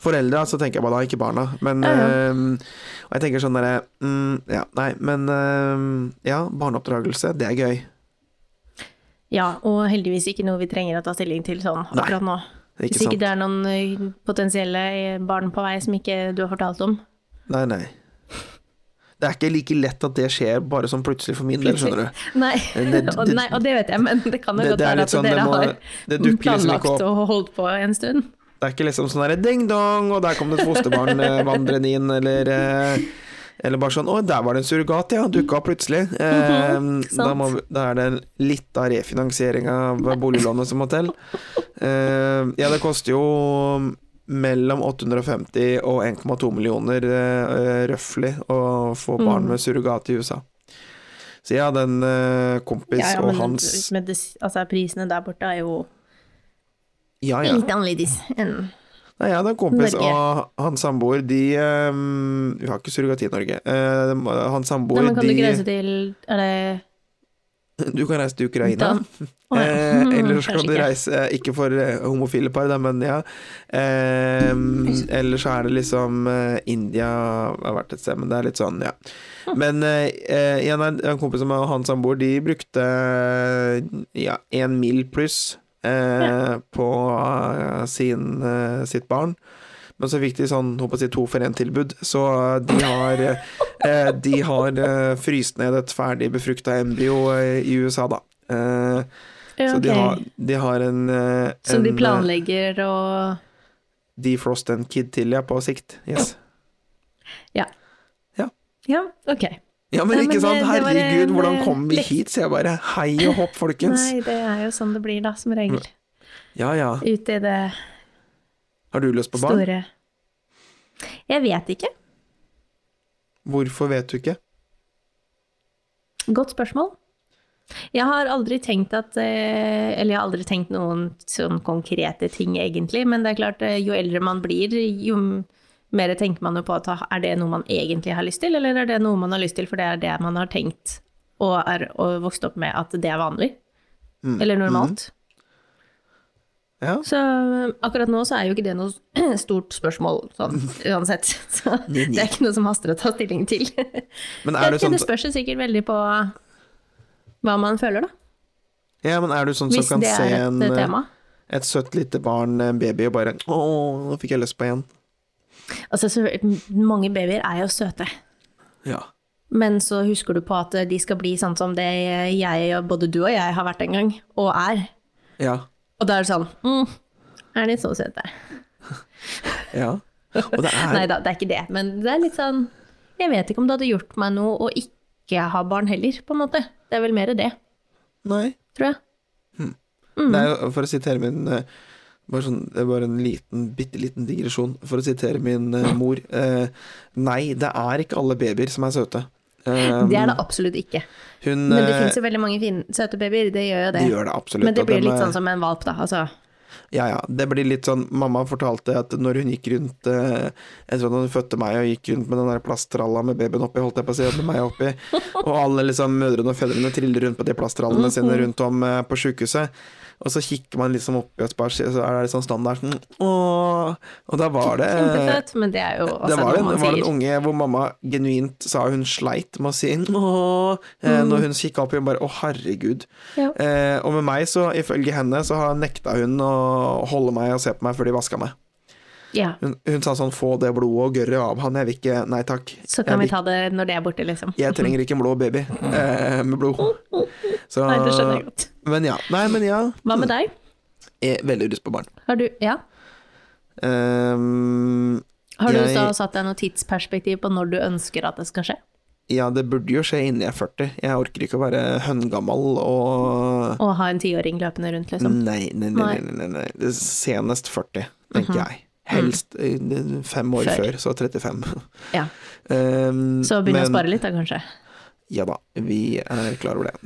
foreldre, så tenker jeg bare da, ikke barna. Men
Ja, ja.
eh, Og jeg tenker sånn derre mm, Ja, nei, men eh, Ja, barneoppdragelse, det er gøy.
ja, og heldigvis ikke noe vi trenger å ta stilling til sånn akkurat nå.
Ikke
Hvis ikke
sant?
det er noen ø, potensielle eh, barn på vei som ikke du har fortalt om.
Nei, nei. Det er ikke like lett at det skjer bare sånn plutselig for min del, skjønner du. Eh,
Nei.
Det-
*laughs* og,
det-
nei, og det vet jeg, men det kan jo
Det,
godt
det er
være
litt
at
sånn, det,
dere
må,
har
det dukker liksom
planlagt
ikke opp
og holdt på en stund.
Det er ikke liksom sånn derre ding-dong, og der kom det et fosterbarn eh, vandrende inn, eller eh, Eller bare sånn Å, der var det en surrogat, ja. Dukka opp plutselig.
Mhm,
Eh, da, må, vi- da er det litt av Ehm, refinansiering av boliglånet som må til. Eh, ja, det koster jo mellom 850 og 1,2 millioner eh, røffelig å få
Mm.
barn med surrogat i USA. Så jeg hadde en eh, kompis
Ja, ja,
og
men
hans
medis- altså, prisene der borte er jo
Ah, Ja, ja.
litt annerledes enn
Nei, jeg hadde en kompis
Norge.
og hans samboer, de eh, Vi har ikke surrogati i Norge. Eh, hans
Nei,
samboer,
men kan du ikke reise
de
til Er det
*laughs* Du kan reise til Ukraina.
Dan- Å, ja. *laughs*
Eh, eller
Kanskje
så kan du
ikke.
reise eh, Ikke for eh, homofile par, da, men ja. Eh, eller så er det liksom eh, India har vært et sted, men det er litt sånn, ja.
Hm.
Men eh, eh, igjen, en en kompis som er han samboer, de brukte eh, ja, en mil pluss eh, på eh, sin, eh, sitt barn. Men så fikk de sånn håper jeg å si, to for én-tilbud, så eh, de har, eh, de har eh, fryst ned et ferdig befrukta embryo eh, i USA, da. Eh,
Ja,
så de
ok.
har, de har en, eh,
Som de
en, eh,
planlegger å
Defrost en kid til, ja, på sikt. Yes.
Ja, ok.
Ja, men
Nei,
ikke
men
sant?
det- det var
Herregud,
en,
hvordan
eh,
kom vi
lek-
hit? Så jeg bare hei og hopp, folkens.
Nei, det er jo sånn det blir, da, som regel.
Ja ja.
Ute i det
Har du lyst på Mm. barn?
store Jeg vet ikke.
Hvorfor vet du ikke?
Godt spørsmål. Jeg har aldri tenkt at eh, Eller jeg har aldri tenkt noen sånn konkrete ting, egentlig. Men det er klart, eh, jo eldre man blir, jo m- mer tenker man jo på at ah, er det noe man egentlig har lyst til, eller er det noe man har lyst til for det er det man har tenkt og er og vokst opp med at det er vanlig?
Mm,
Eller normalt?
Ja.
Så eh, akkurat nå så er jo ikke det noe *clears throat* stort spørsmål
*laughs*
sånn uansett. Så
Nei, nei.
det er ikke noe som haster å ta stilling til.
Men
Jeg *laughs*
er du
vet ikke,
sånn,
det spørs jo sikkert veldig på hva man føler, da.
ja, men er du sånn som
Hvis
kan
det
se
er et
en,
eh,
eh,
tema.
et søtt lite barn, en baby, og bare Å, nå fikk jeg lyst på en.
Altså, så, mange babyer er jo søte.
Ja.
Men så husker du på at de skal bli sånn som det jeg, og både du og jeg har vært en gang, og er.
Ja.
Og da er det sånn mm, Er de så søte?
ja. Og det er
Nei da, det er ikke det. Men det er litt sånn Jeg vet ikke om det hadde gjort meg noe å ikke ha barn heller, på en måte. Det er vel mer det,
Nei.
tror jeg.
Det
Mm.
er, jo- for å sitere min eh, bare, sånn, det er bare en liten, bitte liten digresjon. For å sitere min eh, mor eh, Nei, det er ikke alle babyer som er søte. Eh,
Det er det absolutt ikke.
hun,
Men det
eh,
fins jo veldig mange fine, søte babyer, det gjør jo det.
de gjør det eh, absolutt.
Men det
og
blir
dem
litt
er-
sånn som en valp, da. Altså,
Ja, ja. Det blir litt sånn Mamma fortalte at når hun gikk rundt eh, Jeg tror hun fødte meg og gikk rundt med den der plasttralla med babyen oppi, holdt jeg på å si, og med meg oppi.
*laughs*
Og alle liksom mødrene og fedrene triller rundt på de plasttrallene
Mm-hmm.
sine rundt om eh, på sjukehuset. Og så kikker man liksom oppi og spør, så er det sånn standard sånn Åh. Og da var det eh,
kjempefødt, men det er jo
det
også
var,
noe Altså,
en,
man
var det en
sier.
unge hvor mamma genuint sa hun sleit med å si åh, eh,
Mm-hmm.
når hun kikka opp igjen, bare å, herregud.
Ja.
Eh, og med meg, så ifølge henne, så har nekta hun å holde meg og se på meg før de vaska meg.
Ja.
Hun, hun sa sånn få det blodet og gørret av han, jeg vil ikke, nei takk.
Så
Jeg
kan vi
vil-
ta det når det er borte, liksom.
Jeg trenger ikke en blå baby eh, med blod. Så,
Nei, det skjønner jeg godt.
Men ja. Nei, men ja.
Hva med deg?
Jeg er veldig lyst på barn.
Har du, ja.
Ehm,
har du
Jeg-
da satt deg noe tidsperspektiv på når du ønsker at det skal skje?
ja, det burde jo skje innen jeg er 40. Jeg orker ikke å være høngammal og
Å ha en tiåring løpende rundt, liksom?
Nei, nei, nei,
Nei. Mhm.
nei, nei, nei. Det er Senest 40, tenker jeg. Helst eh, det- fem år før,
Før.
så 35. *laughs*
Ja.
um,
Så begynne å
men-
spare litt, da, kanskje?
Ja da, vi er klar over det.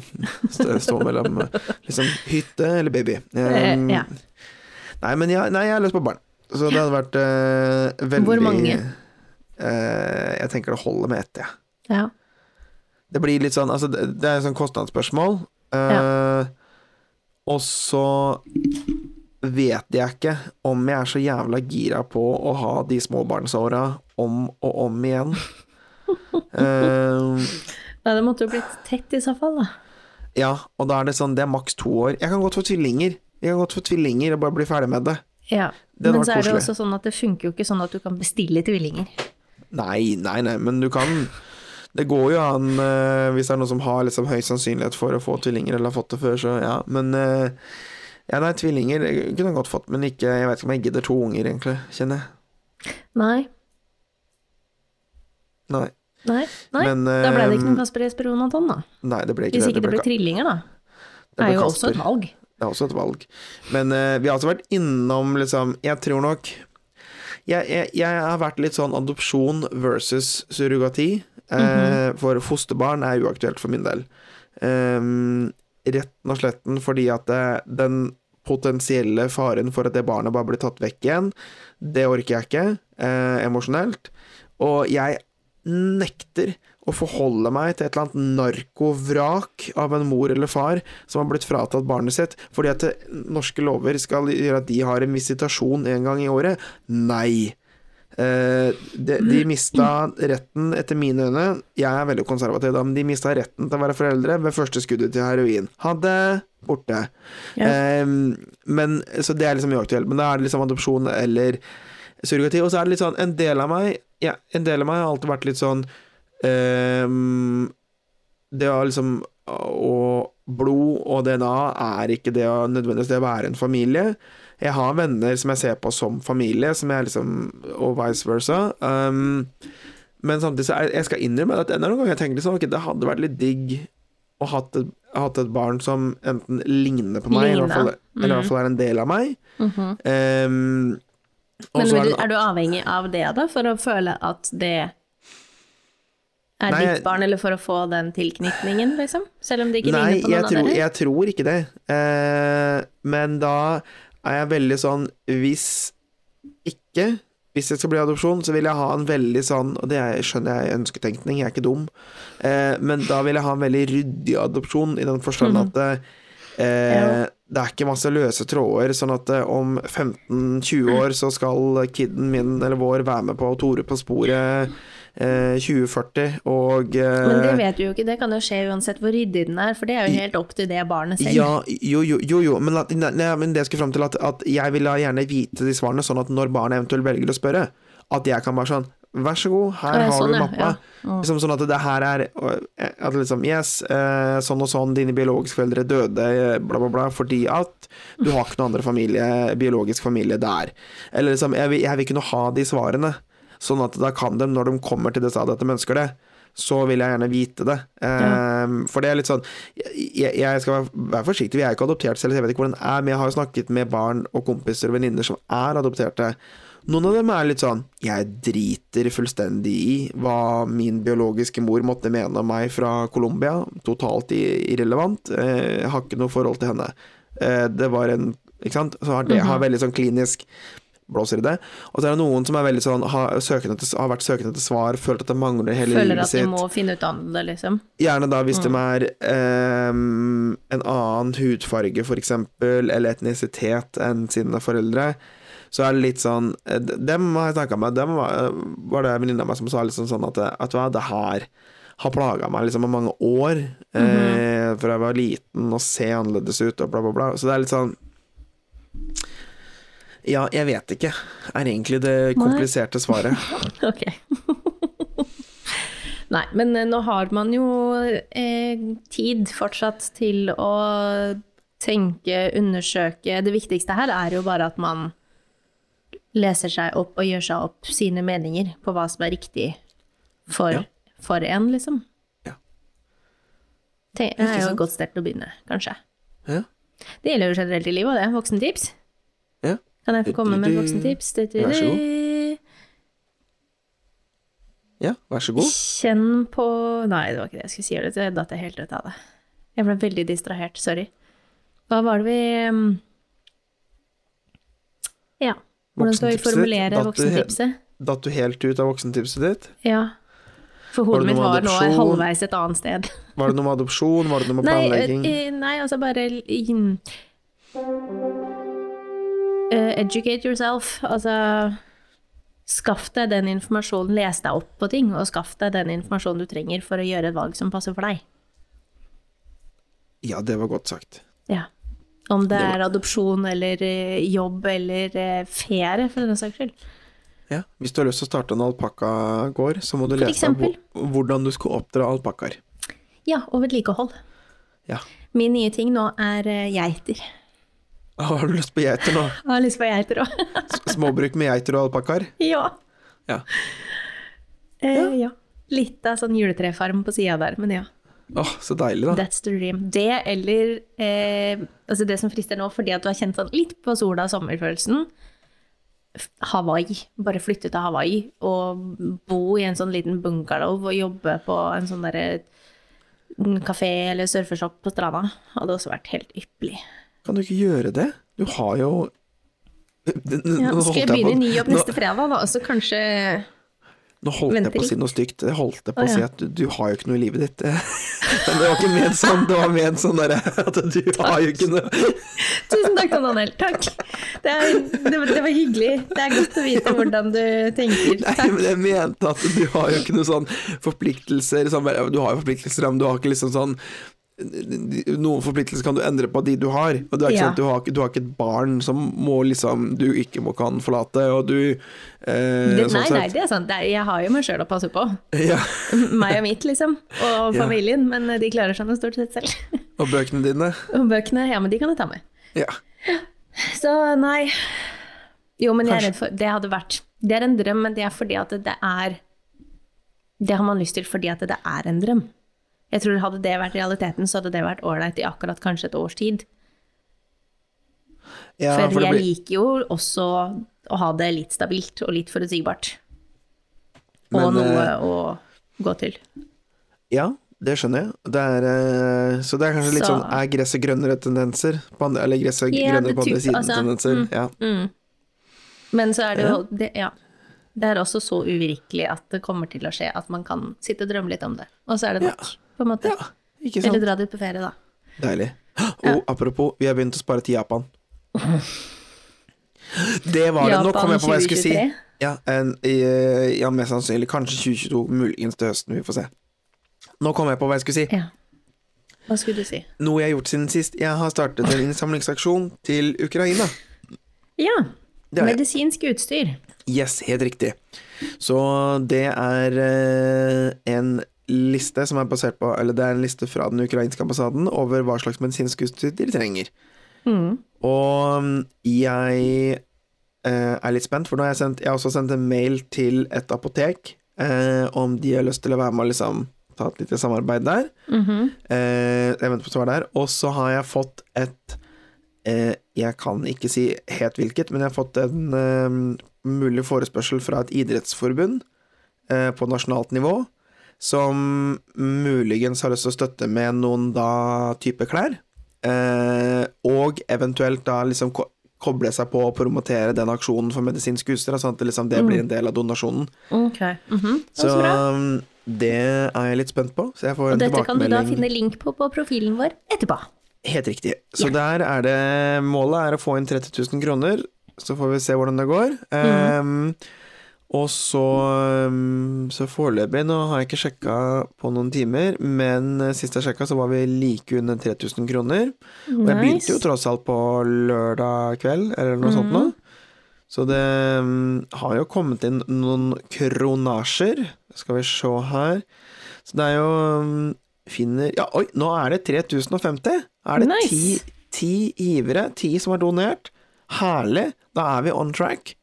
Det står mellom eh, liksom hytte eller baby. Um,
Eh, ja.
Nei, men jeg, nei, jeg har lyst på barn. Så det hadde vært eh, veldig
Hvor mange?
Eh, jeg tenker det holder med ett, jeg.
ja.
Det blir litt sånn Altså, det det er et sånn kostnadsspørsmål. Eh, Og så vet jeg ikke om jeg er så jævla gira på å ha de småbarnsåra om og om igjen. Eh,
Nei, det måtte jo blitt tett i så fall, da.
ja, og da er det sånn Det er maks to år. Jeg kan godt få tvillinger. Jeg kan godt få tvillinger og bare bli ferdig med det.
Ja.
Det hadde
Men
vært
så er det
koselig.
også sånn at det funker jo ikke sånn at du kan bestille tvillinger.
Nei, nei, nei, men du kan Det går jo an eh, hvis det er noen som har liksom høy sannsynlighet for å få tvillinger eller har fått det før, så ja. Men eh, ja, nei, tvillinger jeg kunne jeg godt fått, men ikke Jeg vet ikke om jeg gidder to unger, egentlig, kjenner jeg.
Nei.
Nei.
Nei. Nei.
Men,
da ble det ikke
eh,
noen Kasper Jesper Jonathan, da.
Nei, det ble ikke
Hvis
det.
ikke det
ble
blir
Ka-
trillinger, da.
det
Det
ble
er jo
Kasper.
også et valg.
Det er også et valg. Men eh, vi har altså vært innom liksom Jeg tror nok jeg, jeg, jeg har vært litt sånn adopsjon versus surrogati. Eh, For fosterbarn er uaktuelt for min del. Ehm, retten og sletten fordi at det, den potensielle faren for at det barnet bare blir tatt vekk igjen, det orker jeg ikke eh, emosjonelt. Og jeg nekter å forholde meg til et eller annet narkovrak av en mor eller far som har blitt fratatt barnet sitt, fordi at det, norske lover skal gjøre at de har en visitasjon en gang i året. Nei. Eh, de, de mista retten, etter mine øyne Jeg er veldig konservativ, da, men de mista retten til å være foreldre ved første skuddet til heroin. Ha det! Borte.
Ja.
Eh, men, så det er liksom uaktuelt. Men da er det liksom adopsjon eller surrogati. Og så er det litt sånn En del av meg ja, En del av meg har alltid vært litt sånn ehm, Det å liksom Og blod og DNA er ikke det å nødvendigvis det å være en familie. Jeg har venner som jeg ser på som familie, som jeg liksom Og vice versa. Ehm, men samtidig så er, jeg skal innrømme at det er noen ganger jeg tenker liksom, ok, det hadde vært litt digg å hatt et, hatt et barn som enten ligner på meg, eller i hvert fall,
Ligner.
eller i hvert fall er en del av meg.
Mhm.
Ehm, og
Men
så er
vil,
det-
du- er du avhengig av det, da, for å føle at det er
Nei,
ditt barn, eller for å få den tilknytningen, liksom? Selv om det ikke
Nei,
ligner på noen
jeg
av
tror,
dere?
jeg tror ikke det. Eh, men da er jeg veldig sånn Hvis ikke Hvis det skal bli adopsjon, så vil jeg ha en veldig sånn Og det er, skjønner jeg er ønsketenkning, jeg er ikke dum. Eh, men da vil jeg ha en veldig ryddig adopsjon, i den forstand at eh,
Mhm. Ja.
det er ikke masse løse tråder, sånn at eh, om 15-20 år så skal kiden min eller vår være med på Tore på sporet eh, 2040, og eh,
Men det vet du jo ikke, det kan jo skje uansett hvor ryddig den er, for det er jo helt opp til det barnet selv.
Ja, jo, jo, jo, jo. Men, at, nei, nei, men det jeg skulle fram til at, at jeg vil da gjerne vite de svarene, sånn at når barnet eventuelt velger å spørre, at jeg kan være sånn Vær så god, her
Å, ja,
har
sånn,
du
ja,
mappa. Liksom sånn at det her er og, eh, At liksom Yes, eh, sånn og sånn, dine biologiske foreldre døde, eh, bla, bla, bla, fordi at du har ikke noen andre familie, biologisk familie der. Eller liksom Jeg vil, jeg vil kunne ha de svarene, sånn at da kan de, når de kommer til det stadiet at de ønsker det, så vil jeg gjerne vite det. Ehm, For det er litt sånn Jeg, jeg skal være, være forsiktig, vi er ikke adoptert selv, så jeg vet ikke hvordan det er, men jeg har jo snakket med barn og kompiser og venninner som er adopterte. Noen av dem er litt sånn Jeg driter fullstendig i hva min biologiske mor måtte mene om meg fra Colombia. Totalt i- irrelevant. Eh, Jeg har ikke noe forhold til henne. Eh, Det var en Ikke sant? Så har det
Mhm.
har veldig sånn klinisk blåser i det. Og så er det noen som er veldig sånn, har, søkende til, har vært søkende etter svar, følt at det mangler hele
Føler
livet
at de
sitt.
må finne ut av det, liksom.
Gjerne da hvis de er ehm, en annen hudfarge, for eksempel, eller etnisitet enn sine foreldre. Så er det litt sånn eh, d- Dem har jeg snakka med, dem var, eh, var det en venninne av meg som sa liksom sånn at eh, Vet du hva, det her har plaga meg liksom i mange år, eh, fra jeg var liten, og se annerledes ut, og bla, bla, bla. Så det er litt sånn Ja, jeg vet ikke, er egentlig
Nei.
det kompliserte svaret.
*laughs* Ok. Nei, men eh, nå har man jo eh, tid fortsatt til å tenke, undersøke. Det viktigste her er jo bare at man leser seg opp og gjør seg opp sine meninger på hva som er riktig for,
Ja.
for en, liksom.
Ja.
Det er
Ikke
jo
sant?
et godt sted til å begynne, kanskje.
Ja.
Det gjelder jo generelt i livet, og det. Voksentips.
Ja.
Kan jeg få komme med et voksentips?
Eh, Vær så
god.
Ja, vær så god.
Kjenn på Nei, det var ikke det jeg skulle si. Det jeg datt jeg helt ut av det. Jeg ble veldig distrahert. Sorry. Hva var det vi um, Ja. Hvordan skal vi
Voksentipset
formulere
datt du helt-
voksentipset?
Datt du helt ut av voksentipset ditt?
Ja. For
Var det
hodet mitt
noe med
var nå
adopsjon?
halvveis et annet sted.
Var det noe med adopsjon? Var det noe med
Nei,
planlegging?
eh, nei, altså bare mm, eh, Educate yourself. Altså Skaff deg den informasjonen, les deg opp på ting, og skaff deg den informasjonen du trenger for å gjøre et valg som passer for deg.
Ja, det var godt sagt.
Ja. Om det
Det var-
er adopsjon eller eh, jobb eller eh, ferie, for den saks skyld.
Ja. Hvis du har lyst til å starte en alpakkagård, så må du
For
lese om
eksempel?
hvor- hvordan du skal oppdra alpakkaer.
Ja, og vedlikehold.
Ja. *laughs*
Min nye ting nå er eh, geiter.
Å, Har du lyst på geiter nå?
Jeg har lyst på geiter òg.
S- Småbruk med geiter og alpakkaer?
*laughs* ja.
Ja.
Eh, ja. Litt av sånn juletrefarm på sida der, men ja.
Å, så deilig, da.
That's the dream. Det eller eh, altså det som frister nå, fordi at du har kjent sånn litt på sola og sommerfølelsen, f- Hawaii. Bare flytte til Hawaii og bo i en sånn liten bungalow og jobbe på en sånn derre en kafé eller surfeshop på stranda. Hadde også vært helt ypperlig.
Kan du ikke gjøre det? Du har jo *laughs*
Ja, skal jeg
Nå holdt jeg
begynne i
på-
ny jobb
nå-
neste fredag, da? Så kanskje
Nå holdt jeg
Venter
på å si
litt.
noe stygt. Jeg holdt jeg på
Å,
å si
ja.
at du, du har jo ikke noe i livet ditt. *laughs* Men det var ikke ment sånn, det var ment sånn derre at du har jo ikke noe
Tusen takk, Tom Daniel. Takk. Det, er, det, var- det var hyggelig. Det er godt å vite hvordan du tenker.
Nei,
Takk.
men jeg mente at du har jo ikke noe sånn forpliktelser sånn, bare, Du har jo forpliktelser, men du har ikke liksom sånn Noen forpliktelser kan du endre på de du har. Og det er ikke
Ja.
sånn at du har, ikke- du har ikke et barn som må liksom du ikke må kan forlate, og du eh,
Det,
sånn
nei,
sett.
nei, det er sant. Det er, jeg har jo meg sjøl å passe på.
Ja,
*laughs* Meg og mitt, liksom. Og
Ja.
familien. Men eh, de klarer seg nå stort sett selv. *laughs*
og bøkene dine.
Og bøkene, ja, men de kan jeg ta med.
Ja.
Så nei. Jo, men jeg er
Kanskje.
redd for Det hadde vært Det er en drøm, men det er fordi at det er Det har man lyst til fordi at det er en drøm. Jeg tror hadde det vært realiteten, så hadde det vært ålreit i akkurat kanskje et års tid.
ja
for,
for det
jeg
blir,
liker jo også å ha det litt stabilt og litt forutsigbart. Og
Men,
noe
eh,
å gå til.
ja, det skjønner jeg. Det er, eh, så det er kanskje litt
Så-
sånn er gresset grønnere-tendenser? Eller gresset
Ja,
grønnere
det
på andre
typ- altså,
siden-tendenser? ja.
Men så er det jo det, ja. det er også så uvirkelig at det kommer til å skje at man kan sitte og drømme litt om det. Og så er det nok, på en måte.
ja, ikke sant.
Mm. Eller dra dit på ferie, da.
Deilig. Og apropos, vi har begynt å spare til Japan. Det var det. Nå
Japan
kom jeg på hva jeg skulle si.
2023?
Ja, en, i- ja, mest sannsynlig. Kanskje 2022, muligens til høsten. Vi får se. Nå kom jeg på hva jeg skulle si.
Ja. Hva skulle du si?
Noe jeg har gjort siden sist. Jeg har startet en innsamlingsaksjon til Ukraina.
Ja,
Det har jeg.
medisinsk utstyr.
Yes, helt riktig. Så det er eh, en liste som er basert på Eller det er en liste fra den ukrainske ambassaden over hva slags medisinsk utstyr de trenger. Og mm, jeg eh, er litt spent, for nå har jeg sendt Jeg har også sendt en mail til et apotek eh, om de har lyst til å være med og liksom ta et lite samarbeid der. Eh, jeg venter på svar der. Og så har jeg fått et eh, Jeg kan ikke si helt hvilket, men jeg har fått en eh, mulig forespørsel fra et idrettsforbund eh, på nasjonalt nivå, som muligens har lyst til å støtte med noen da type klær, eh, og eventuelt da liksom ko koble seg på å promotere den aksjonen for medisinsk utstyr, sånn at det, liksom, det blir en del av donasjonen.
Ok.
Så
Mm. Mhm. så bra.
um, det er jeg litt spent på, så jeg får
Og
en
dette kan du da
tilbakemelding.
finne link på på profilen vår etterpå.
Helt riktig. Så der er det Målet er å få inn 30 000 kroner, så får vi se hvordan det går. Ehm, og så um, Så foreløpig, nå har jeg ikke sjekka på noen timer, men eh, sist jeg sjekka, så var vi like under 3000 kroner. Og jeg begynte jo tross alt på lørdag kveld, eller noe sånt nå. Så det mm, har jo kommet inn noen kronasjer. Skal vi se her. Så det er jo mm, Finner Ja, oi, nå er det 3050! Er det
Nice.
ti, ti givere? Ti som har donert? Herlig! Da er vi on track.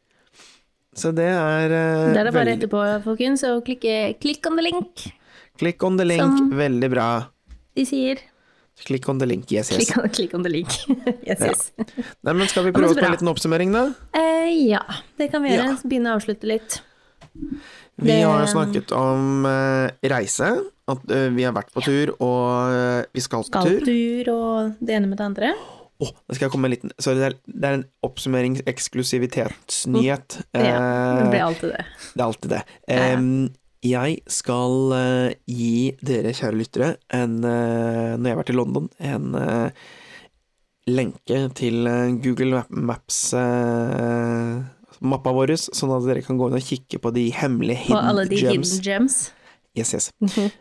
Så det er eh,
Der er det bare
veldig-
etterpå, folkens, og klikke 'click on the link'.
Click on the link.
Som-
Veldig bra.
De sier
Click on the link. Yes, yes.
click on, click on the link. *laughs* yes, yes.
Nei, men skal vi
men
prøve
så
oss på en
bra.
liten oppsummering, da?
Eh, ja, det kan vi gjøre.
Ja.
Begynne å avslutte litt.
Vi
Det-
har jo snakket om eh, reise, at eh, vi har vært på tur, og eh, vi skal på tur.
Galtur og det ene med det andre.
Åh, nå skal jeg komme med en liten Så det er, det er en oppsummeringseksklusivitetsnyhet.
Ja, det
Eh,
blir alltid det.
det er alltid det. Em, jeg skal eh, gi dere, kjære lyttere, en eh, Når jeg har vært i London, en eh, lenke til eh, Google Map- Maps eh, Mappa vår, sånn at dere kan gå inn og kikke på de hemmelige
Og
hidden
alle de
gems.
hidden gems.
Yes, yes.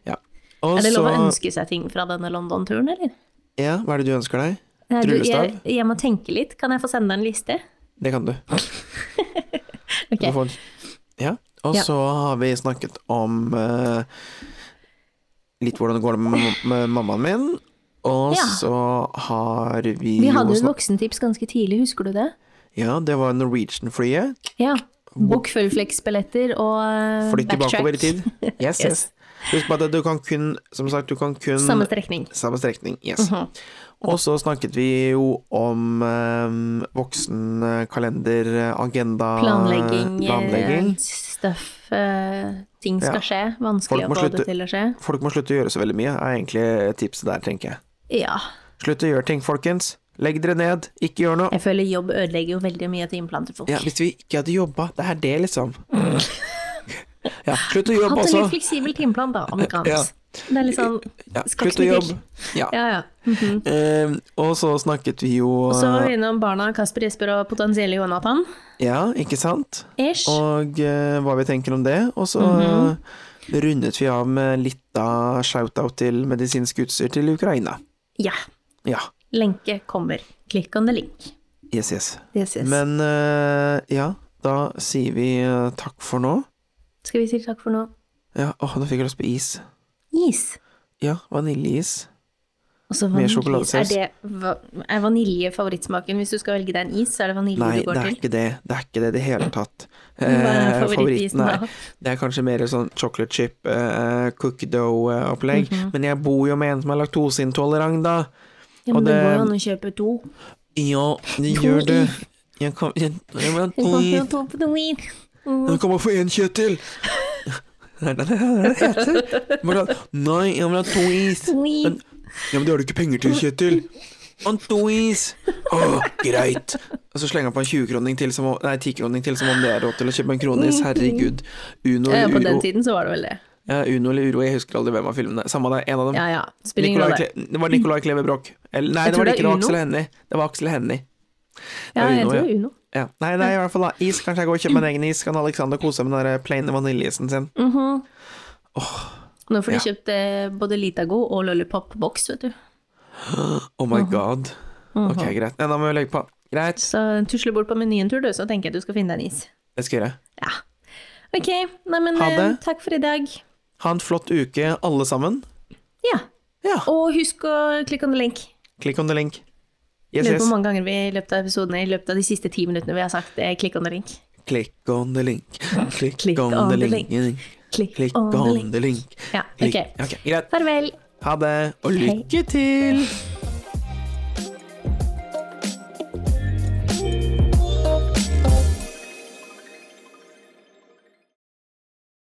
Ja. Og
Er det lov å
så-
ønske seg ting fra denne London-turen, eller?
Ja, hva er det du ønsker deg?
Nei, du, jeg,
Tryllestav?
jeg må tenke litt. Kan jeg få sende deg en liste?
Det kan du.
*laughs* Ok.
Du får en- Ja. Og
Ja.
så har vi snakket om eh, litt hvordan det går med, mam- med mammaen min. Og
Ja.
så har vi
Vi
jo
hadde jo et
snak-
voksentips ganske tidlig, husker du det?
Ja, det var Norwegian-flyet.
Ja. Bok fullflex-billetter og eh,
Flytt
backtrack. *laughs*
tilbakeover i tid. Yes, yes.
Yes.
Husk på at du kan kun, som sagt, du kan kun
Samme Mhm. strekning.
Samme strekning, yes. Og så snakket vi jo om eh, voksenkalender, agenda
Planlegging, eh,
planlegging.
stuff, eh, ting skal
Ja.
skje.
Folk
Vanskelig å
må
få
slutte.
det til å skje.
Folk må slutte å gjøre så veldig mye, er egentlig tipset der, tenker jeg.
Ja.
Slutt å gjøre ting, folkens. Legg dere ned, ikke gjør noe.
Jeg føler jobb ødelegger jo veldig mye timeplanen til folk.
Ja, hvis vi ikke hadde jobba, det er det, liksom. Ja, slutt å jobbe
Hatt en
også.
litt fleksibel timeplan, da, amerikansk.
Ja.
Det er litt sånn
Ja,
skal
slutt å
ikke
jobbe.
til.
Ja.
Ja, ja. Mhm.
Eh, og så snakket vi jo
Og så var
eh,
vi innom barna Kasper Jesper og potensielle Jonathan.
Ja, ikke sant?
Ish.
Og eh, hva vi tenker om det. Og så
Mhm.
eh, rundet vi av med litt av shout-out til medisinsk utstyr til Ukraina.
Ja.
Ja.
Lenke kommer. Klikk on the link.
Yes, yes.
Yes, yes.
Men eh, ja, da sier vi eh, takk for nå.
Skal vi si takk for nå?
Ja, åh, nå fikk jeg lyst på is.
Is.
Ja, vaniljeis.
Og så vaniljeis.
Med
Er,
sjokoladesaus.
det, va- er vanilje favorittsmaken? Hvis du skal velge deg en is, så er det vanilje
Nei,
du
det
går
er
til?
ikke det. Det er ikke det i det hele tatt.
*laughs* Hva er
Eh,
favorittisen
er-
da?
Det er kanskje mer sånn chocolate chip, eh, cookie dough-opplegg.
Mhm.
Men jeg bor jo med en som er laktoseintolerant, da.
Ja, men
Og
det
det-
går jo an å kjøpe to.
Ja, det
To
gjør det.
i.
Jeg kan, jeg, jeg, vil ha
Du
to
kan
i.
få to på noe is.
jeg kan bare få én
*laughs*
kjøtt til! Det er det det er det det heter. Bare, nei, jeg vil ha to is.
To is.
Men, ja, men det har du ikke penger til, Kjetil. Han to is! Å, greit. Og så slenger han på en 20-kroning til, som om- nei, 10-kroning til som om det er råd til å kjøpe en kronis. Herregud. Uno
Ja,
eller
på den
Uro.
tiden så var det vel det.
Ja, Uno eller Uro, jeg husker aldri hvem av filmene. Samme det, en av dem.
Ja ja, spiller ingen
Nicolai
rolle.
Kle- det var Nicolai Kleve Broch. Eller, nei,
Jeg
det
tror det
var det
er
ikke. Det var
Uno.
Aksel Hennie. Det var Aksel Hennie.
Ja, jeg
Uno,
tror
ja.
Uno.
Ja. Nei, nei, i hvert fall da. Is. Kanskje jeg går og kjøper meg en egen is. Kan Alexander kose seg med den der plain vaniljeisen sin.
Mhm. Nå får de
ja.
kjøpt eh, både Litago og Lollipop-boks, vet du. Mm-hmm.
Oh my god. Ok, greit. Nei, da må vi legge på. Greit.
Så tusle bort på menyen tur, du, så tenker jeg at du skal finne deg en is.
Det skal jeg gjøre.
Ja. Ok, nei, men
Ha
eh,
det.
takk for i dag.
Ha en flott uke, alle sammen.
Ja.
Ja.
Og husk å klikke on the link.
Klikk on the link. Yes,
Lurer på
yes.
hvor mange ganger vi i løpet av episodene, i løpet av de siste ti minuttene vi har sagt eh, klikk on the link.
Klikk on the link. Klikk
Klikk
on the link.
Klikk,
Klikk
on the link.
on the link.
Ja,
Klikk.
ok.
Ok, greit.
Farvel.
Ha det, og
Hei.
lykke til!